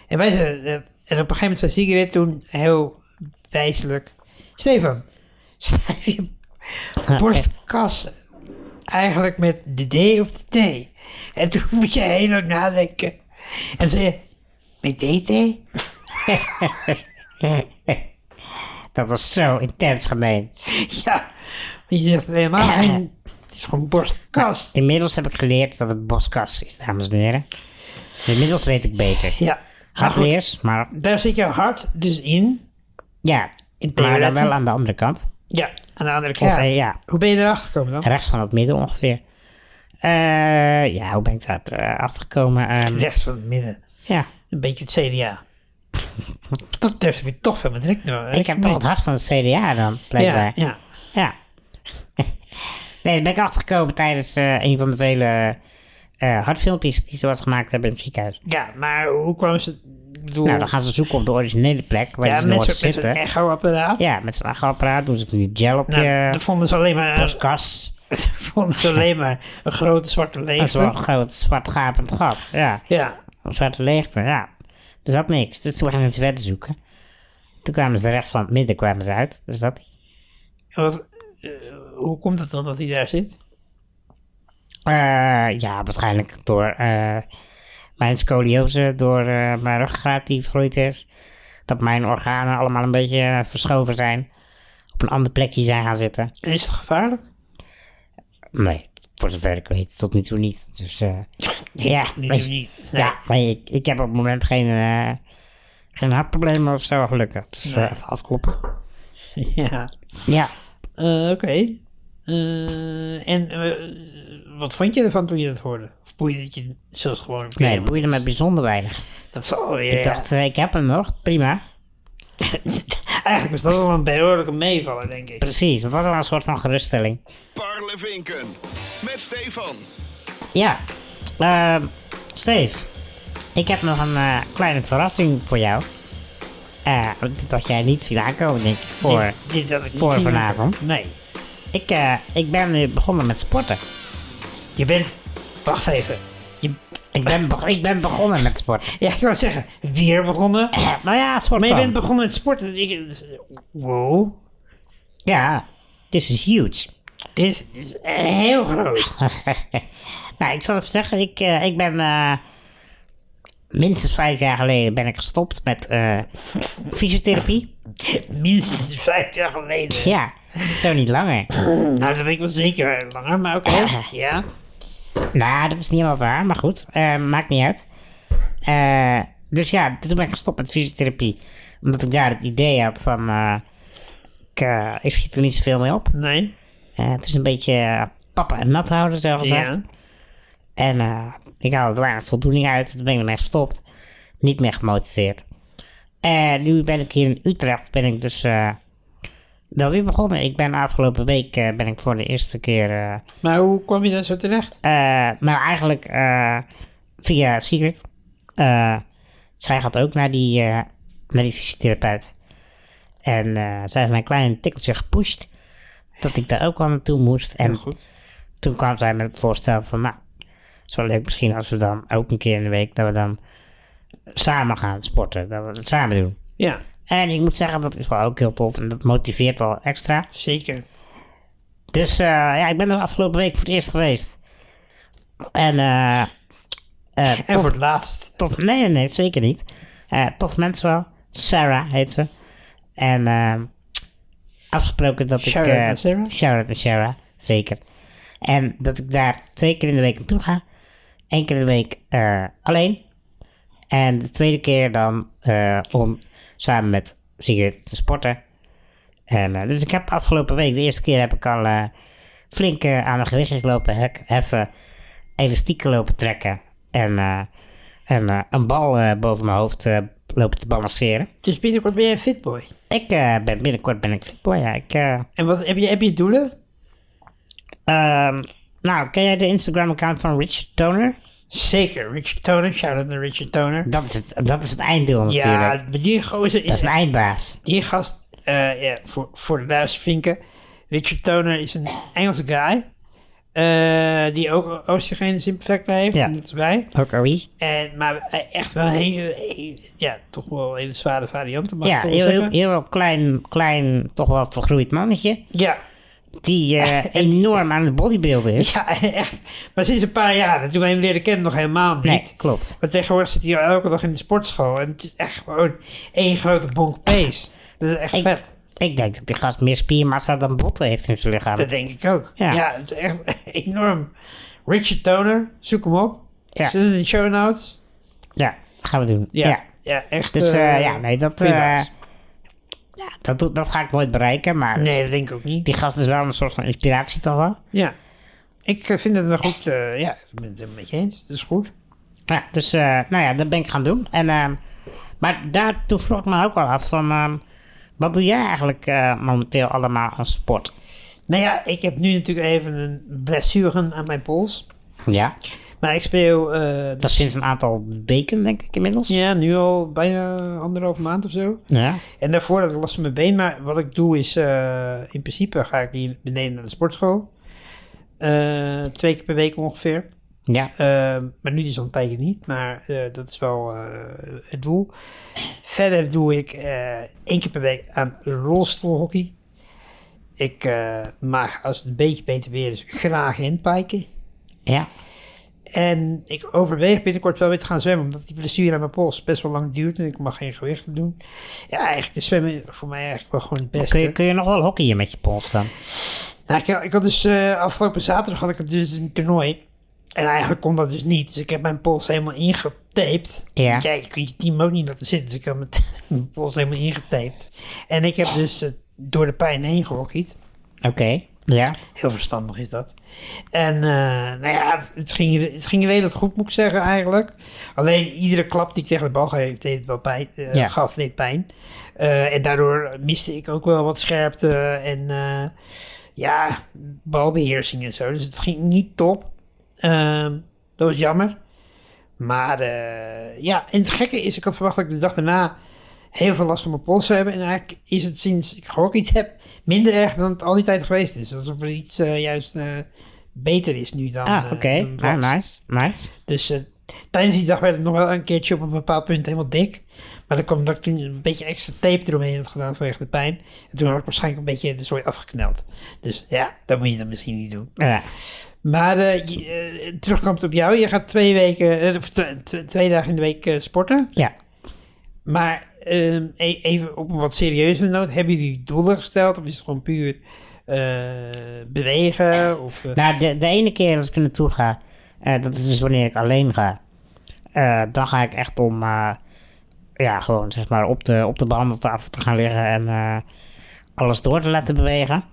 A: En wij zeiden... eh, En op een gegeven moment zei Sigrid toen heel wijselijk... Stefan, schrijf je borstkas eigenlijk met de D of de T? En toen moet je heel lang nadenken. En zei je, met DT?
B: Dat was zo intens gemeen.
A: Ja, want je zegt helemaal geen... Het is gewoon borstkast.
B: Inmiddels heb ik geleerd dat het borstkas is, dames en heren. Dus inmiddels weet ik beter.
A: Ja, maar goed,
B: Hardleers, maar
A: daar zit jouw hart dus in.
B: ja.
A: In
B: Maar dan
A: theorie.
B: wel aan de andere kant.
A: Ja, aan de andere
B: Of
A: kant.
B: ja, ja
A: Hoe ben je erachter gekomen dan?
B: rechts van het midden ongeveer. Eh, ja, hoe ben ik daar eh, achtergekomen? Ehm,
A: Rechts van het midden.
B: ja,
A: Een beetje het CDA. Dat betreft heb je toch veel met Rick nou.
B: Ik heb toch het hart van het CDA dan,
A: Ja,
B: blijkbaar.
A: ja.
B: Ja. nee, daar ben ik achtergekomen tijdens eh, een van de vele eh hartfilmpjes die ze wat gemaakt hebben in het ziekenhuis.
A: Ja, maar hoe kwamen ze... Ik bedoel,
B: Nou, dan gaan ze zoeken op de originele plek waar
A: ja,
B: ze nog
A: met zo'n- met zo'n
B: zitten.
A: echo-apparaat.
B: ja, met zo'n achterapparaat doen ze van die gel op
A: Nou,
B: je
A: dat vonden ze alleen maar,
B: borstkas.
A: vonden ze alleen maar een grote zwarte
B: Dat is wel een
A: leegte.
B: groot zwart gapend gat. Ja,
A: Ja,
B: een zwarte leegte, ja. Er zat niks, dus toen gingen ze verder zoeken. Toen kwamen ze rechts van het midden kwamen ze uit, dus dat
A: En wat, eh, hoe komt het dan dat hij daar zit?
B: Eh, ja, waarschijnlijk door eh, mijn scoliose, door eh, mijn ruggengraat die vergroeid is. Dat mijn organen allemaal een beetje eh, verschoven zijn. Op een ander plekje zijn gaan zitten.
A: En is het gevaarlijk?
B: Nee, voor zover ik weet, tot nu toe niet. Dus eh, ja,
A: niet,
B: weet je-
A: niet. Nee.
B: ja, nee, ik, ik heb op het moment geen, eh, geen hartproblemen of zo, gelukkig. Dus eh, even afkloppen.
A: Ja.
B: Ja,
A: Eh, Oké. Eh, en eh, wat vond je ervan toen je dat hoorde? Of boeide het je zelfs gewoon? een
B: nee,
A: keer?
B: boeide me bijzonder weinig.
A: Dat zal weer.
B: Ik dacht, eh, ik heb hem nog, prima.
A: Eigenlijk was dat wel een behoorlijke meevaller, denk ik.
B: Precies, het was al een soort van geruststelling.
D: Parlevinken met Stefan.
B: Ja, Ehm Steve, ik heb nog een eh, kleine verrassing voor jou. Eh, dat jij niet ziet aankomen, denk ik. Voor.
A: Dit- dit had ik niet
B: voor
A: zien
B: vanavond.
A: Nee.
B: Ik, eh, ik ben nu begonnen met sporten.
A: Je bent. Wacht even. Je,
B: Ik ben, be- ik ben begonnen met sporten.
A: ja, ik wou zeggen, weer begonnen.
B: nou ja, soort
A: Maar je
B: van.
A: bent begonnen met sporten. Ik, wow.
B: Ja, this is huge.
A: Dit is, dit is heel groot.
B: nou, ik zal even zeggen, ik, eh, ik ben eh, minstens vijf jaar geleden ben ik gestopt met eh, fysiotherapie.
A: Minstens vijf jaar geleden.
B: Ja, zo niet langer.
A: Nou, dat weet ik wel zeker langer, maar oké. Ja.
B: Nou, dat is niet helemaal waar, maar goed. eh, maakt niet uit. Eh, dus ja, toen ben ik gestopt met fysiotherapie. Omdat ik daar het idee had van... eh, ik, eh, ik schiet er niet zoveel mee op.
A: Nee.
B: Eh, het is een beetje eh, papa en nat houden, zo gezegd.
A: Ja.
B: En eh, ik haalde er weinig voldoening uit. dus Toen ben ik ermee gestopt. Niet meer gemotiveerd. En nu ben ik hier in Utrecht. Ben ik dus eh wel weer begonnen. Ik ben afgelopen week eh, ben ik voor de eerste keer... eh,
A: Maar hoe kwam je daar zo terecht?
B: eh, nou, eigenlijk eh, via Sigrid. Eh, zij gaat ook naar die, eh, naar die fysiotherapeut. En eh, zij heeft mij een klein tikkeltje gepusht. Dat ik daar ook wel naartoe moest. En toen kwam zij met het voorstel van... Nou, het is wel leuk misschien als we dan ook een keer in de week... dat we dan samen gaan sporten. Dat we het samen doen.
A: Ja,
B: En ik moet zeggen, dat is wel ook heel tof. En dat motiveert wel extra.
A: zeker.
B: Dus eh, ja, ik ben er afgelopen week voor het eerst geweest. En, eh eh,
A: En voor het laatst.
B: tof, nee, nee, nee, zeker niet. Eh, tof mensen wel. Sarah heet ze. En ehm, afgesproken dat ik...
A: Shout-out
B: eh,
A: naar Sarah.
B: Shout-out naar Sarah, zeker. En dat ik daar twee keer in de week naartoe ga. Eén keer in de week eh, alleen. En de tweede keer dan eh, om samen met Sigrid te sporten. En, eh, dus ik heb afgelopen week, de eerste keer heb ik al eh, flink eh, aan de gewichtjes lopen hek- heffen. Elastieken lopen trekken. En, eh, en eh, een bal eh, boven mijn hoofd eh, lopen te balanceren.
A: Dus binnenkort ben jij fitboy.
B: Ik eh, ben binnenkort ben ik fitboy, ja. Ik, eh,
A: En wat, heb, je, heb je doelen?
B: ehm, nou, ken jij de Instagram account van Richard Toner?
A: Zeker. Richard Toner. Shout-out naar Richard Toner.
B: Dat is het, dat is het einddoel natuurlijk.
A: Ja, maar die gozer
B: dat
A: is...
B: is een eindbaas.
A: Die gast, eh, ja, voor, voor de luistervinken. Richard Toner is een Engelse guy. eh, die ook osteogenesis imperfecta heeft.
B: Ja.
A: en Dat is wij.
B: Ook Ari.
A: En, maar eh, echt wel hele, hele- ja, toch wel hele zware varianten, mag
B: Ja,
A: ik toch
B: heel,
A: wel
B: heel,
A: zeggen.
B: heel klein, klein, toch wel vergroeid mannetje.
A: Ja,
B: Die eh, enorm aan het bodybuilden is.
A: ja, echt. Maar sinds een paar jaar, toen wij hem leerden kennen, nog helemaal niet.
B: Nee, klopt.
A: Maar tegenwoordig zit hij al elke dag in de sportschool. En het is echt gewoon één grote bonk pees. Dat is echt
B: Ik,
A: vet.
B: ik denk dat die gast meer spiermassa dan botten heeft in zijn lichaam.
A: Dat denk ik ook.
B: Ja.
A: Ja, het is echt enorm. Richard Toner, zoek hem op.
B: Ja.
A: Zit het in de show notes?
B: Ja, gaan we doen. Ja.
A: Ja, ja echt.
B: Dus eh,
A: eh,
B: ja, nee, dat,
A: prima.
B: eh, ja, dat, doe- dat ga ik nooit bereiken. Maar
A: nee, dat denk ik ook niet.
B: die gast is wel een soort van inspiratie toch wel.
A: Ja. Ik eh, vind het een goed, eh, ja, ik ben het een beetje eens. Dat is goed.
B: Ja, dus eh, nou ja, dat ben ik gaan doen. En ehm, Maar daar, toen vroeg ik me ook al af van... ehm, wat doe jij eigenlijk eh, momenteel allemaal aan sport?
A: Nou ja, ik heb nu natuurlijk even een blessure aan mijn pols.
B: Ja.
A: Maar ik speel... eh,
B: Dat is sinds een aantal weken, denk ik inmiddels.
A: ja, nu al bijna anderhalf maand of zo.
B: Ja.
A: En daarvoor had ik last van mijn been. Maar wat ik doe is, eh, in principe ga ik hier beneden naar de sportschool. Eh, twee keer per week ongeveer.
B: Ja.
A: Eh, maar nu dus al een tijdje niet. Maar eh, dat is wel eh, het doel. Verder doe ik eh, één keer per week aan rolstoelhockey. Ik eh, mag, als het een beetje beter weer is, graag handpiken.
B: Ja.
A: En ik overweeg binnenkort wel weer te gaan zwemmen, omdat die blessure aan mijn pols best wel lang duurt en ik mag geen gewicht meer doen. Ja, eigenlijk is zwemmen voor mij eigenlijk wel gewoon het beste.
B: Kun je, kun je nog wel hockeyen met je pols dan?
A: Nou, ik, ik had dus eh, afgelopen zaterdag had ik dus een toernooi. En eigenlijk kon dat dus niet. Dus ik heb mijn pols helemaal ingetaped.
B: Ja.
A: Kijk, ik kun je team ook niet laten zitten. Dus ik had mijn, mijn pols helemaal ingetaped. En ik heb dus eh, door de pijn heen gehockeyd.
B: Oké. Ja.
A: Heel verstandig is dat. En eh, nou ja, het, het ging, het ging redelijk goed, moet ik zeggen eigenlijk. Alleen iedere klap die ik tegen de bal geef, deed wel pijn, eh,
B: Ja.
A: gaf, deed pijn. Eh, en daardoor miste ik ook wel wat scherpte en eh, ja, balbeheersing en zo. Dus het ging niet top. Ehm, dat was jammer. Maar eh, ja, en het gekke is, ik had verwacht dat ik de dag daarna heel veel last van mijn pols zou hebben. En eigenlijk is het sinds ik gehockeyd heb minder erg dan het al die tijd geweest is. Alsof er iets eh, juist eh, beter is nu dan.
B: Ah,
A: eh,
B: oké.
A: dan
B: Ah,
A: was.
B: nice. Nice.
A: Dus eh, tijdens die dag werd het nog wel een keertje op een bepaald punt helemaal dik. Maar dan kwam dat ik toen een beetje extra tape eromheen had gedaan vanwege de pijn. En toen had ik waarschijnlijk een beetje de zooi afgekneld. Dus ja, dat moet je dan misschien niet doen.
B: Ja.
A: Maar eh, je- eh, terugkomend op jou, je gaat twee weken, eh, of tw- tw- twee dagen in de week eh, sporten.
B: Ja.
A: Maar ehm, e- even op een wat serieuze noot, hebben jullie doelen gesteld? Of is het gewoon puur eh, bewegen? Of, eh,
B: Nou, de, de ene keer als ik er naartoe ga, eh, dat is dus wanneer ik alleen ga, eh, dan ga ik echt om, eh, ja, gewoon zeg maar op de, op de behandeltafel te gaan liggen en eh, alles door te laten bewegen.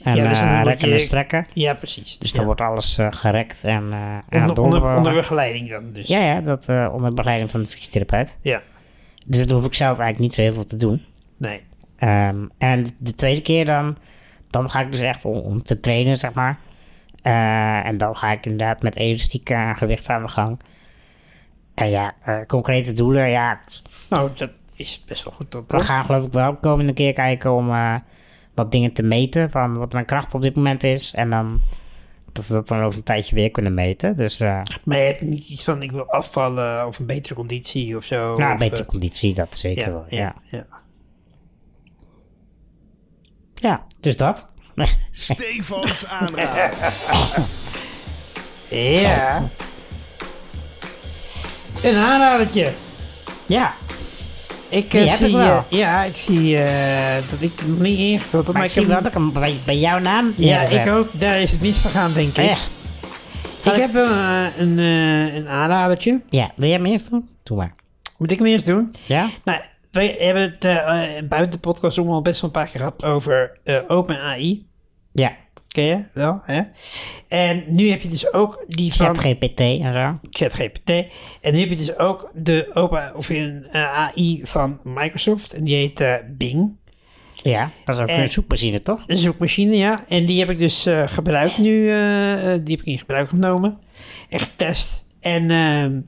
B: En
A: Ja,
B: ja,
A: dus dan word
B: rekken
A: je-
B: en strekken.
A: ja, precies.
B: Dus
A: Ja.
B: dan wordt alles eh, gerekt en, eh en
A: onder, onder,
B: doorbewogen.
A: onder begeleiding dan dus.
B: Ja, ja, dat eh, onder begeleiding van de fysiotherapeut.
A: Ja,
B: Dus dat hoef ik zelf eigenlijk niet zo heel veel te doen.
A: nee.
B: Ehm, en de tweede keer dan, dan ga ik dus echt om, om te trainen, zeg maar. Eh, en dan ga ik inderdaad met elastiek en gewicht aan de gang. En ja, eh, concrete doelen, ja.
A: Nou, dat is best wel goed dat
B: We gaan geloof ik wel de komende keer kijken om eh, wat dingen te meten. Van wat mijn kracht op dit moment is. En dan dat we dat dan over een tijdje weer kunnen meten. Dus eh
A: Maar je hebt niet iets van ik wil afvallen of een betere conditie of zo.
B: nou, een
A: of,
B: betere
A: eh,
B: conditie, dat zeker
A: ja,
B: wel.
A: ja,
B: Ja.
A: ja.
B: ja, dus dat.
D: Stefans aanraden.
A: Ja. Een aanradertje.
B: ja,
A: Ik,
B: Die
A: eh,
B: heb ik
A: zie,
B: wel.
A: eh, ja heb ik zie eh, dat ik hem niet ingevuld had.
B: maar
A: Maar
B: ik zie wel
A: heb
B: dat ik hem bij, bij jouw naam
A: Ja,
B: neerzet.
A: ik ook. Daar is het misgegaan, denk ik.
B: Ja.
A: Ik heb eh, een, eh, een aanradertje.
B: Ja, wil jij hem eerst doen? Doe maar.
A: Moet ik hem eerst doen?
B: Ja?
A: Nou, we hebben het eh, eh, buiten de podcast om al best wel een paar keer gehad over eh, Open AI.
B: Ja.
A: Ken je wel, hè? En nu heb je dus ook die van...
B: ChatGPT en zo.
A: ChatGPT. En nu heb je dus ook de open, of een eh, AI van Microsoft. En die heet eh, Bing.
B: Ja, dat is ook
A: En-
B: een zoekmachine, toch?
A: Een zoekmachine, ja. En die heb ik dus eh, gebruikt nu. eh, eh, die heb ik in gebruik genomen. En getest. En ehm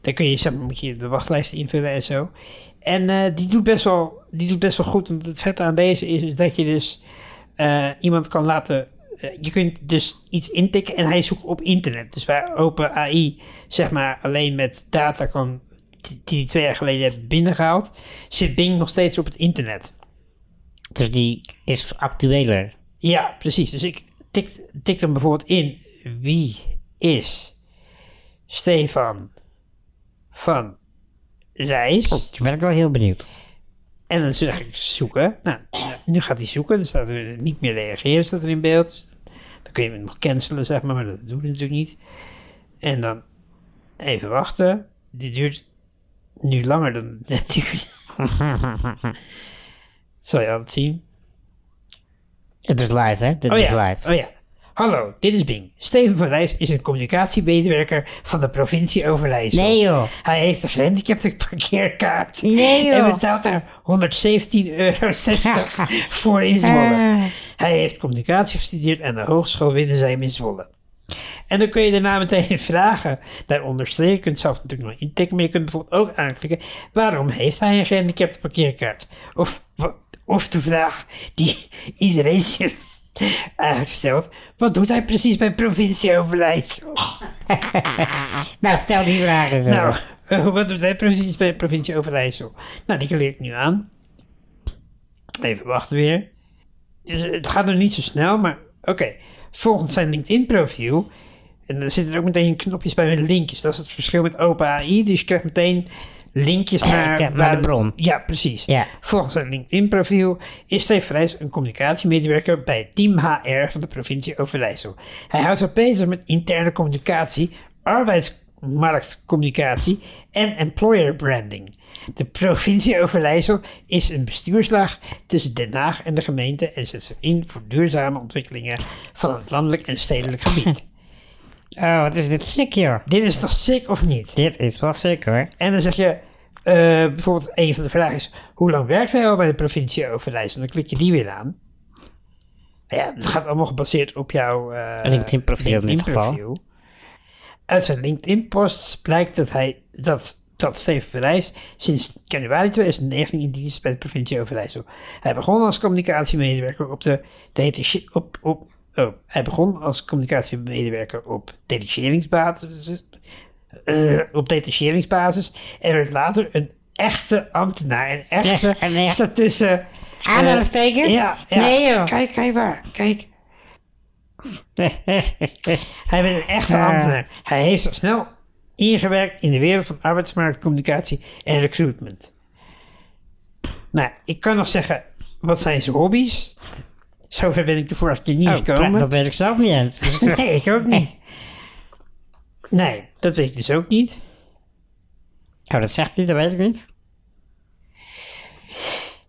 A: dan kun je, zeg maar, moet je de wachtlijst invullen en zo. En eh, die, doet best wel, die doet best wel goed. Want het vet aan deze is, is dat je dus eh, iemand kan laten... eh, je kunt dus iets intikken en hij zoekt op internet. Dus waar Open AI zeg maar alleen met data kan... die die twee jaar geleden hebben binnengehaald... zit Bing nog steeds op het internet.
B: Dus die is actueler.
A: Ja, precies. Dus ik tik, tik hem bijvoorbeeld in. Wie is Stefan van Rijs?
B: Toen ben ik wel heel benieuwd.
A: En dan zeg ik zoeken. Nou, nu gaat hij zoeken. Dan staat er niet meer reageren staat er in beeld. Dus dan kun je hem nog cancelen, zeg maar. Maar dat doe ik natuurlijk niet. En dan even wachten. Dit duurt nu langer dan het net duurde. Zal je altijd zien.
B: Het is live, hè? Dit
A: Oh
B: is
A: ja.
B: live.
A: Oh ja. Hallo, dit is Bing. Steven van Rijs is een communicatiemedewerker van de provincie Overijssel.
B: Nee, joh.
A: Hij heeft een gehandicapte parkeerkaart.
B: Nee, joh.
A: En betaalt daar 117,60 euro voor in
B: Ah.
A: Zwolle. Hij heeft communicatie gestudeerd aan de Hogeschool Windesheim in Zwolle. En dan kun je daarna meteen vragen. Daaronder streek, je kunt zelf natuurlijk nog intikken, maar je kunt bijvoorbeeld ook aanklikken. Waarom heeft hij een gehandicapte parkeerkaart? Of, wa- of de vraag die iedereen zich uitstelt. Wat doet hij precies bij provincie Overijssel?
B: Nou, stel die vraag eens.
A: Nou,
B: even.
A: eh, wat doet hij precies bij provincie Overijssel? Nou, die leer ik nu aan. Even wachten weer. Dus het gaat nog niet zo snel, maar oké. Volgens zijn LinkedIn-profiel. En er zitten ook meteen knopjes bij met linkjes. Dat is het verschil met OpenAI. Dus je krijgt meteen linkjes naar,
B: Eh, naar de bron.
A: Ja, precies.
B: Ja.
A: Volgens zijn LinkedIn-profiel is Steve Vrijs een communicatiemedewerker bij het Team HR van de provincie Overijssel. Hij houdt zich bezig met interne communicatie, arbeidsmarktcommunicatie en employer branding. De provincie Overijssel is een bestuurslaag tussen Den Haag en de gemeente en zet zich in voor duurzame ontwikkelingen van het landelijk en stedelijk gebied.
B: Oh, wat is dit sick, joh.
A: Dit is toch sick of niet?
B: Dit is wel sick, hoor.
A: En dan zeg je, eh, bijvoorbeeld een van de vragen is, hoe lang werkt hij al bij de provincie Overijssel? En dan klik je die weer aan. Nou ja, dat gaat allemaal gebaseerd op jouw eh,
B: LinkedIn profiel in dit
A: LinkedIn-profiel.
B: geval.
A: Uit zijn LinkedIn posts blijkt dat hij, dat, dat Steven Verrijs sinds januari 2019 in dienst is bij de provincie Overijssel. Hij begon als communicatiemedewerker op de detache- op, op, oh, hij begon als communicatiemedewerker op detacheringsbasis, eh, op detacheringsbasis en werd later een echte ambtenaar. Een echte
B: Ja, nee.
A: staat tussen... eh,
B: Aanhalingstekens?
A: ja, ja.
B: Nee, joh.
A: Kijk, kijk waar. Kijk. Hij werd een echte ambtenaar. Hij heeft zich snel ingewerkt in de wereld van arbeidsmarkt, communicatie en recruitment. Nou, ik kan nog zeggen, wat zijn zijn hobby's? Zover ben ik de vorige keer
B: Oh,
A: niet gekomen.
B: dat weet ik zelf niet eens. Dus
A: Nee, ik ook niet. Nee, dat weet ik dus ook niet.
B: Oh, dat zegt hij, dat weet ik niet.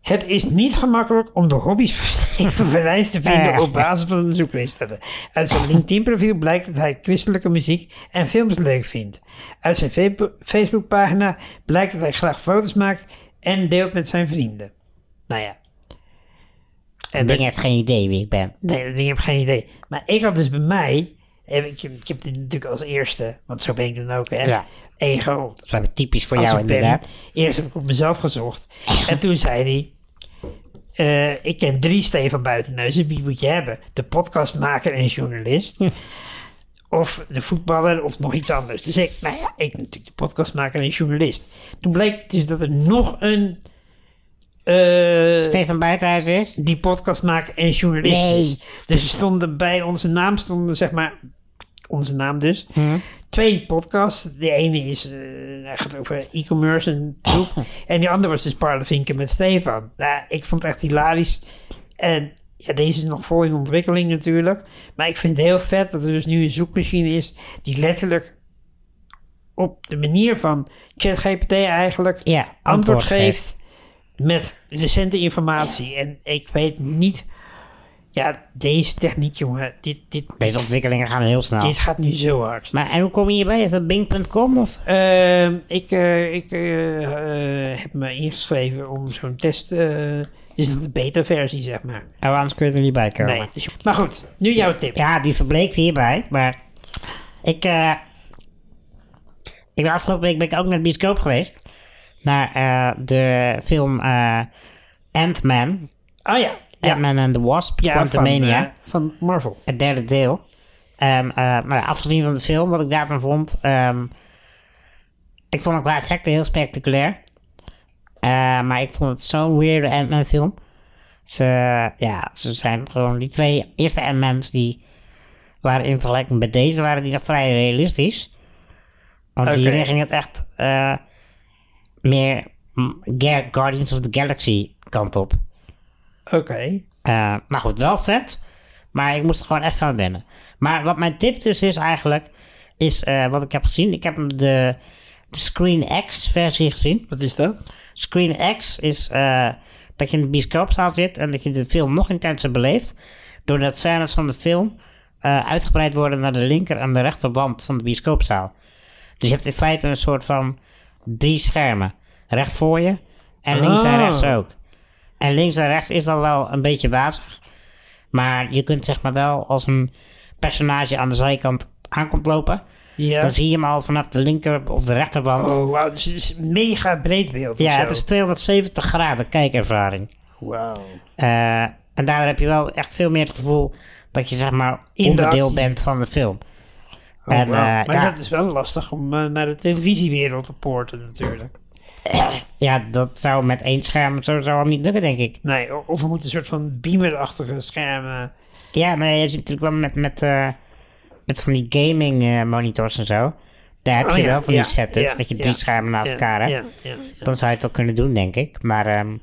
A: Het is niet gemakkelijk om de hobby's van Steven Verrijs te vinden
B: Eh.
A: op basis van een zoekresultaten. Uit zijn LinkedIn-profiel blijkt dat hij christelijke muziek en films leuk vindt. Uit zijn Fe- Facebook-pagina blijkt dat hij graag foto's maakt en deelt met zijn vrienden. Nou ja. En
B: Bing
A: dat-
B: heeft geen idee wie ik ben.
A: Nee, ik heb geen idee. Maar ik had dus bij mij, en ik, ik heb dit natuurlijk als eerste, want zo ben ik dan ook, hè?
B: Ja.
A: Ego
B: Dat is wel typisch voor
A: als
B: jou,
A: ik ben.
B: inderdaad.
A: Eerst heb ik op mezelf gezocht. En toen zei hij... eh, ik ken drie Stefan Buitenhuizen. Wie moet je hebben? De podcastmaker en journalist. of de voetballer of nog iets anders. Dus ik, nou ja, ik natuurlijk de podcastmaker en journalist. Toen bleek dus dat er nog een... eh,
B: Stefan Buitenhuis is?
A: die podcast maakt en journalist
B: Nee.
A: is. Dus er stonden bij onze naam, stonden zeg maar, onze naam dus,
B: Hm.
A: twee podcasts. De ene is, eh, hij gaat over e-commerce en troep. en die andere was dus Parlevinken met Stefan. Nou, ik vond het echt hilarisch. En ja, deze is nog vol in ontwikkeling natuurlijk. Maar ik vind het heel vet dat er dus nu een zoekmachine is die letterlijk op de manier van ChatGPT eigenlijk
B: Ja,
A: antwoord
B: antwoord
A: geeft met recente informatie. En ik weet niet. Ja, deze techniek, jongen. Dit, dit,
B: Deze ontwikkelingen gaan heel snel.
A: dit gaat nu zo hard.
B: Maar en hoe kom je hierbij? Is dat Bing.com of?
A: Ehm, ik eh, ik eh, eh, heb me ingeschreven om zo'n test. eh is dat de beta-versie, zeg maar?
B: Oh, anders kun je er niet bij komen.
A: Nee. dus- maar goed, nu jouw tip.
B: Ja, die verbleekt hierbij, maar ik, eh ik ben afgelopen week ben ik ook naar de bioscoop geweest. Naar eh, de film eh, Ant-Man.
A: Oh ja. Ja,
B: Ant-Man and the Wasp,
A: ja van,
B: Quantumania.
A: eh, van Marvel.
B: het derde deel. Ehm, eh, maar afgezien van de film, wat ik daarvan vond. ehm, ik vond het qua effecten heel spectaculair. Eh, maar ik vond het zo'n weirde Ant-Man film. Ze, ja, ze zijn gewoon die twee eerste Ant-Mans die waren in vergelijking met deze, waren die nog vrij realistisch. Want
A: Oké.
B: hierin ging het echt eh, meer mm, Ga- Guardians of the Galaxy kant op.
A: Oké.
B: Eh, maar goed, wel vet. Maar ik moest er gewoon echt aan wennen. Maar wat mijn tip dus is eigenlijk, is eh, wat ik heb gezien. Ik heb hem de, de Screen X versie gezien.
A: Wat is dat?
B: Screen X is eh, dat je in de bioscoopzaal zit en dat je de film nog intenser beleeft. Doordat scènes van de film eh, uitgebreid worden naar de linker en de rechterwand van de bioscoopzaal. Dus je hebt in feite een soort van drie schermen. Recht voor je en links en
A: Ah.
B: rechts ook. En links en rechts is dan wel een beetje wazig. Maar je kunt zeg maar wel als een personage aan de zijkant aankomt lopen.
A: Ja.
B: Dan zie je hem al vanaf de linker of de rechterwand.
A: Oh, wauw. Dus het is een mega breed beeld.
B: ja,
A: of zo.
B: het is 270 graden kijkervaring.
A: Wauw.
B: Eh, en daardoor heb je wel echt veel meer het gevoel dat je zeg maar
A: In de
B: onderdeel
A: actie.
B: bent van de film.
A: Oh,
B: en,
A: wauw.
B: eh,
A: maar
B: ja,
A: dat is wel lastig om eh, naar de televisiewereld te poorten natuurlijk.
B: ja, dat zou met één scherm sowieso al niet lukken, denk ik.
A: Nee, o- of we moeten een soort van beamerachtige schermen. eh,
B: Ja, nee, je zit natuurlijk wel met, met, eh, met van die gaming eh, monitors en zo. Daar heb
A: Oh
B: je
A: ja,
B: wel van
A: ja,
B: die setup,
A: ja,
B: dat je
A: ja,
B: drie schermen naast
A: ja,
B: elkaar hebt.
A: ja, ja, ja.
B: Dan zou je het wel kunnen doen, denk ik. Maar ehm,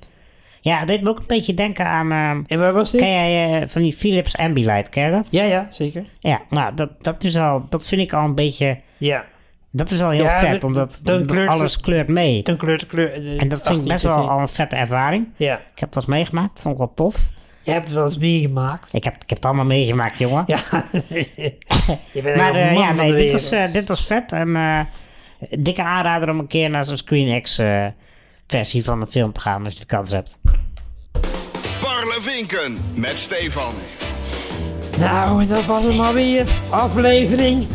B: ja, het deed me ook een beetje denken aan... ehm,
A: En waar was dit?
B: ken jij eh, van die Philips Ambilight, ken je dat?
A: Ja, ja, zeker.
B: Ja, nou, dat, dat, is al, dat vind ik al een beetje...
A: Ja.
B: Dat is al heel
A: Ja,
B: vet,
A: dat-
B: omdat,
A: dat
B: omdat
A: kleurt-
B: alles kleurt mee.
A: Ten kleur te kleur. eh,
B: En dat vind ik
A: 18
B: best wel
A: tv.
B: al een vette ervaring.
A: Ja.
B: Ik heb dat meegemaakt, vond ik wel tof.
A: Je hebt het wel eens meegemaakt.
B: Ik heb, ik heb het allemaal meegemaakt, jongen.
A: Ja. je bent
B: maar
A: maar,
B: eh, ja,
A: ja,
B: nee, dit was, eh, dit was vet. En eh, dikke aanrader om een keer naar zo'n Screen X eh, versie van de film te gaan, als je de kans hebt.
D: Parlevinken met Stefan.
A: Nou, en dat was hem alweer. Aflevering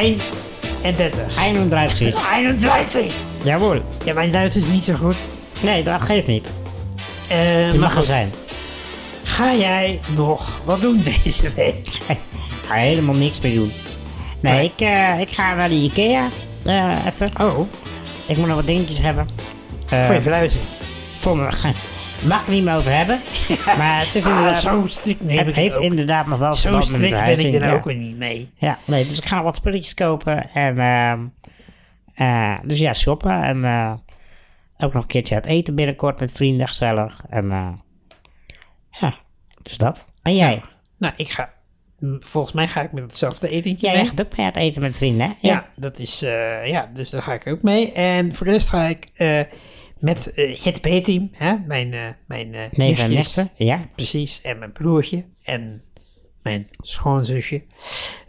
A: 31.
B: Eindelijk eruit zien.
A: 31!
B: Jawohl.
A: Ja, mijn Duits is niet zo goed.
B: Nee, dat geeft niet.
A: Eh,
B: Je
A: maar
B: mag er
A: goed,
B: zijn.
A: ga jij nog wat doen deze week?
B: Ik ga helemaal niks meer doen. Nee, ik, eh, ik ga naar de Ikea. eh, even.
A: Oh,
B: Ik moet nog wat dingetjes hebben. Eh,
A: voor je verhuizing.
B: voor me. Mag ik niet meer over hebben. Maar het is
A: Ah,
B: inderdaad.
A: zo strikt neem ik
B: het
A: het
B: heeft
A: ook.
B: inderdaad nog wel
A: Zo
B: verband met de
A: strikt ben ik
B: verhuizing,
A: er
B: ja.
A: ook weer niet mee.
B: Ja, nee, dus ik ga wat spulletjes kopen en ehm, eh, dus ja, shoppen en eh, ook nog een keertje uit eten binnenkort met vrienden, gezellig en eh, ja, dus dat. En jij?
A: Nou, ik ga... m, Volgens mij ga ik met hetzelfde etentje
B: Jij
A: mee.
B: gaat ook mee uit eten met vrienden, hè?
A: Ja, dat is... eh, ja, dus daar ga ik ook mee. En voor de rest ga ik eh, met eh, het B-team, hè, mijn, eh mijn eh,
B: Neven en
A: nichtjes.
B: nichten, ja.
A: Precies, en mijn broertje en mijn schoonzusje.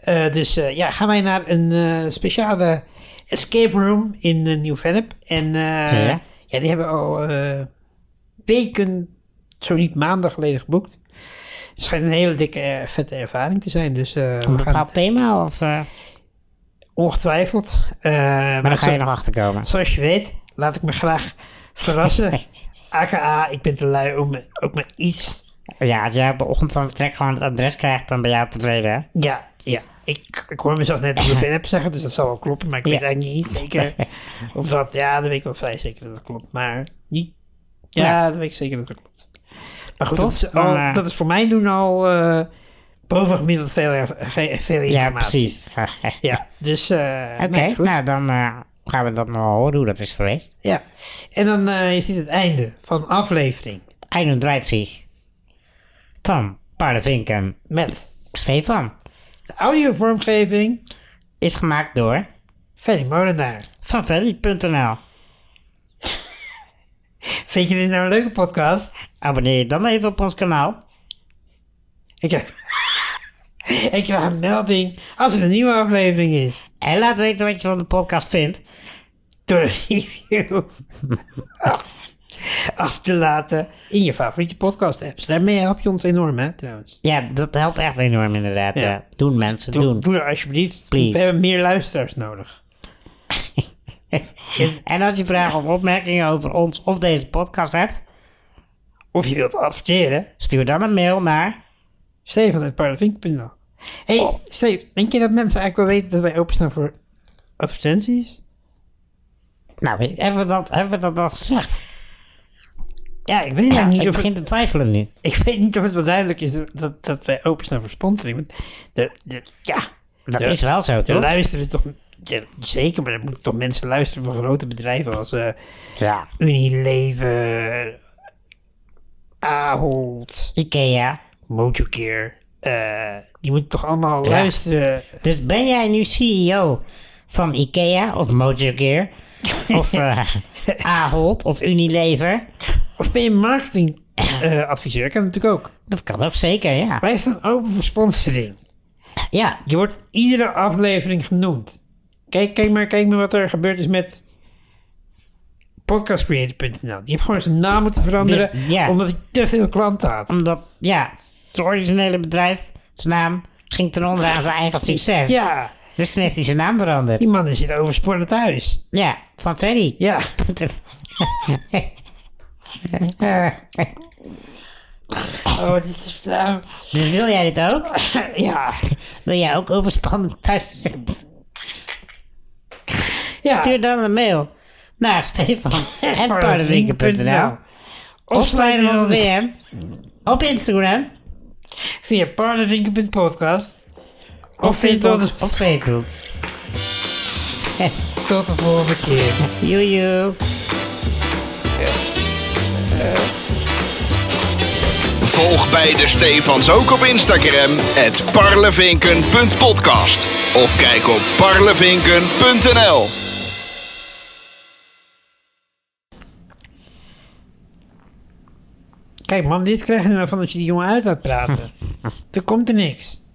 A: Eh, dus eh, ja, gaan wij naar een eh, speciale escape room in eh, Nieuw-Vennep. En eh, ja.
B: Ja.
A: die hebben al eh, weken, zo niet maanden geleden geboekt. Het schijnt een hele dikke, eh, vette ervaring te zijn. Dus eh,
B: Een
A: we gaan
B: bepaald thema of... eh,
A: ongetwijfeld. eh,
B: maar daar ga je
A: zo-
B: nog achter komen.
A: Zoals je weet, laat ik me graag verrassen. AKA, ik ben te lui om me- ook maar iets
B: Ja, als jij op de ochtend van vertrek gewoon het adres krijgt, dan ben jij tevreden, hè?
A: Ja, ja. Ik, ik hoor mezelf net op de VNAP zeggen, dus dat zal wel kloppen. Maar ik weet
B: Ja.
A: eigenlijk niet zeker of dat... Ja, dat weet ik wel vrij zeker dat dat klopt. Maar niet... Ja,
B: Ja.
A: dat weet ik zeker dat dat klopt. Maar goed,
B: Toch?
A: dat is, al-
B: Dan, eh,
A: dat is voor mij doen al eh bovengemiddeld veel, er- ge- veel informatie.
B: Ja, precies.
A: Ja, dus... eh,
B: Oké,
A: nee, goed.
B: nou dan eh, gaan we dat nog wel horen hoe dat is geweest.
A: Ja. En dan eh, is dit het einde van aflevering
B: Eindelijk draait zich. Tom, Paardenvinken,
A: met
B: Stefan.
A: de audiovormgeving
B: Is gemaakt door
A: Fanny Molenaar.
B: vanverliet.nl.
A: Vind je dit nou een leuke podcast?
B: Abonneer je dan even op ons kanaal.
A: Ik heb, ik heb een melding als er een nieuwe aflevering is.
B: En laat weten wat je van de podcast vindt.
A: Door een review af te laten in je favoriete podcast apps. Daarmee help je ons enorm, hè, trouwens.
B: Ja, dat helpt echt enorm inderdaad.
A: Ja.
B: ja. Doen mensen,
A: Doe,
B: doen.
A: doe dat alsjeblieft.
B: Please.
A: We hebben meer luisteraars nodig.
B: En als je vragen of opmerkingen over ons of deze podcast hebt,
A: Of je wilt adverteren.
B: stuur dan een mail naar...
A: Stefan.parlevink.nl Hé, hey, Steve, denk je dat mensen eigenlijk wel weten dat wij openstaan voor advertenties?
B: Nou, hebben we dat, hebben we dat al gezegd?
A: Ja, ik weet eigenlijk niet
B: ik
A: of het-
B: begin te twijfelen nu.
A: ik weet niet of het wel duidelijk is dat, dat, dat wij openstaan voor sponsoring. Want de, de, ja,
B: Dat
A: Ja.
B: is wel zo,
A: Er
B: toch?
A: luisteren toch... ja, zeker, maar er moeten toch mensen luisteren van grote bedrijven als eh,
B: Ja.
A: Unilever, Ahold,
B: Ikea.
A: Mojocare. eh die moeten toch allemaal
B: Ja.
A: luisteren.
B: Dus ben jij nu CEO van Ikea of Mojocare of eh Ahold of Unilever?
A: Of ben je eh, marketingadviseur? adviseur? kan natuurlijk ook.
B: Dat kan ook zeker, ja.
A: Wij staan open voor sponsoring.
B: Ja,
A: Je wordt iedere aflevering genoemd. Kijk, kijk, maar, kijk maar wat er gebeurd is met podcastcreator.nl. Die heeft gewoon zijn naam moeten veranderen
B: Dus, ja.
A: omdat hij te veel klanten had.
B: omdat, ja, het originele bedrijf, zijn naam, ging ten onder aan zijn eigen succes.
A: Ja,
B: Dus toen heeft hij zijn naam veranderd.
A: die man is in overspannen thuis.
B: Ja, van Ferry. Dus
A: Ja, oh, dit is flauw.
B: dus wil jij dit ook?
A: Ja,
B: Wil jij ook overspannen thuis zitten?
A: ja.
B: Stuur dan een mail naar Stefan en Paardenwinkel.nl
A: Of
B: nou. of
A: sluit
B: slide ons
A: ons weer
B: DM op Instagram
A: via paardenwinkel.podcast.
B: of
A: Of
B: vind
A: vind
B: ons
A: ons
B: op Facebook.
A: tot de volgende keer.
B: Joe, joe.
D: Volg bij de Stefans ook op Instagram, het parlevinken.podcast. Of kijk op parlevinken.nl.
A: Kijk man, dit krijg je nou van als je die jongen uit laat praten. er komt er niks.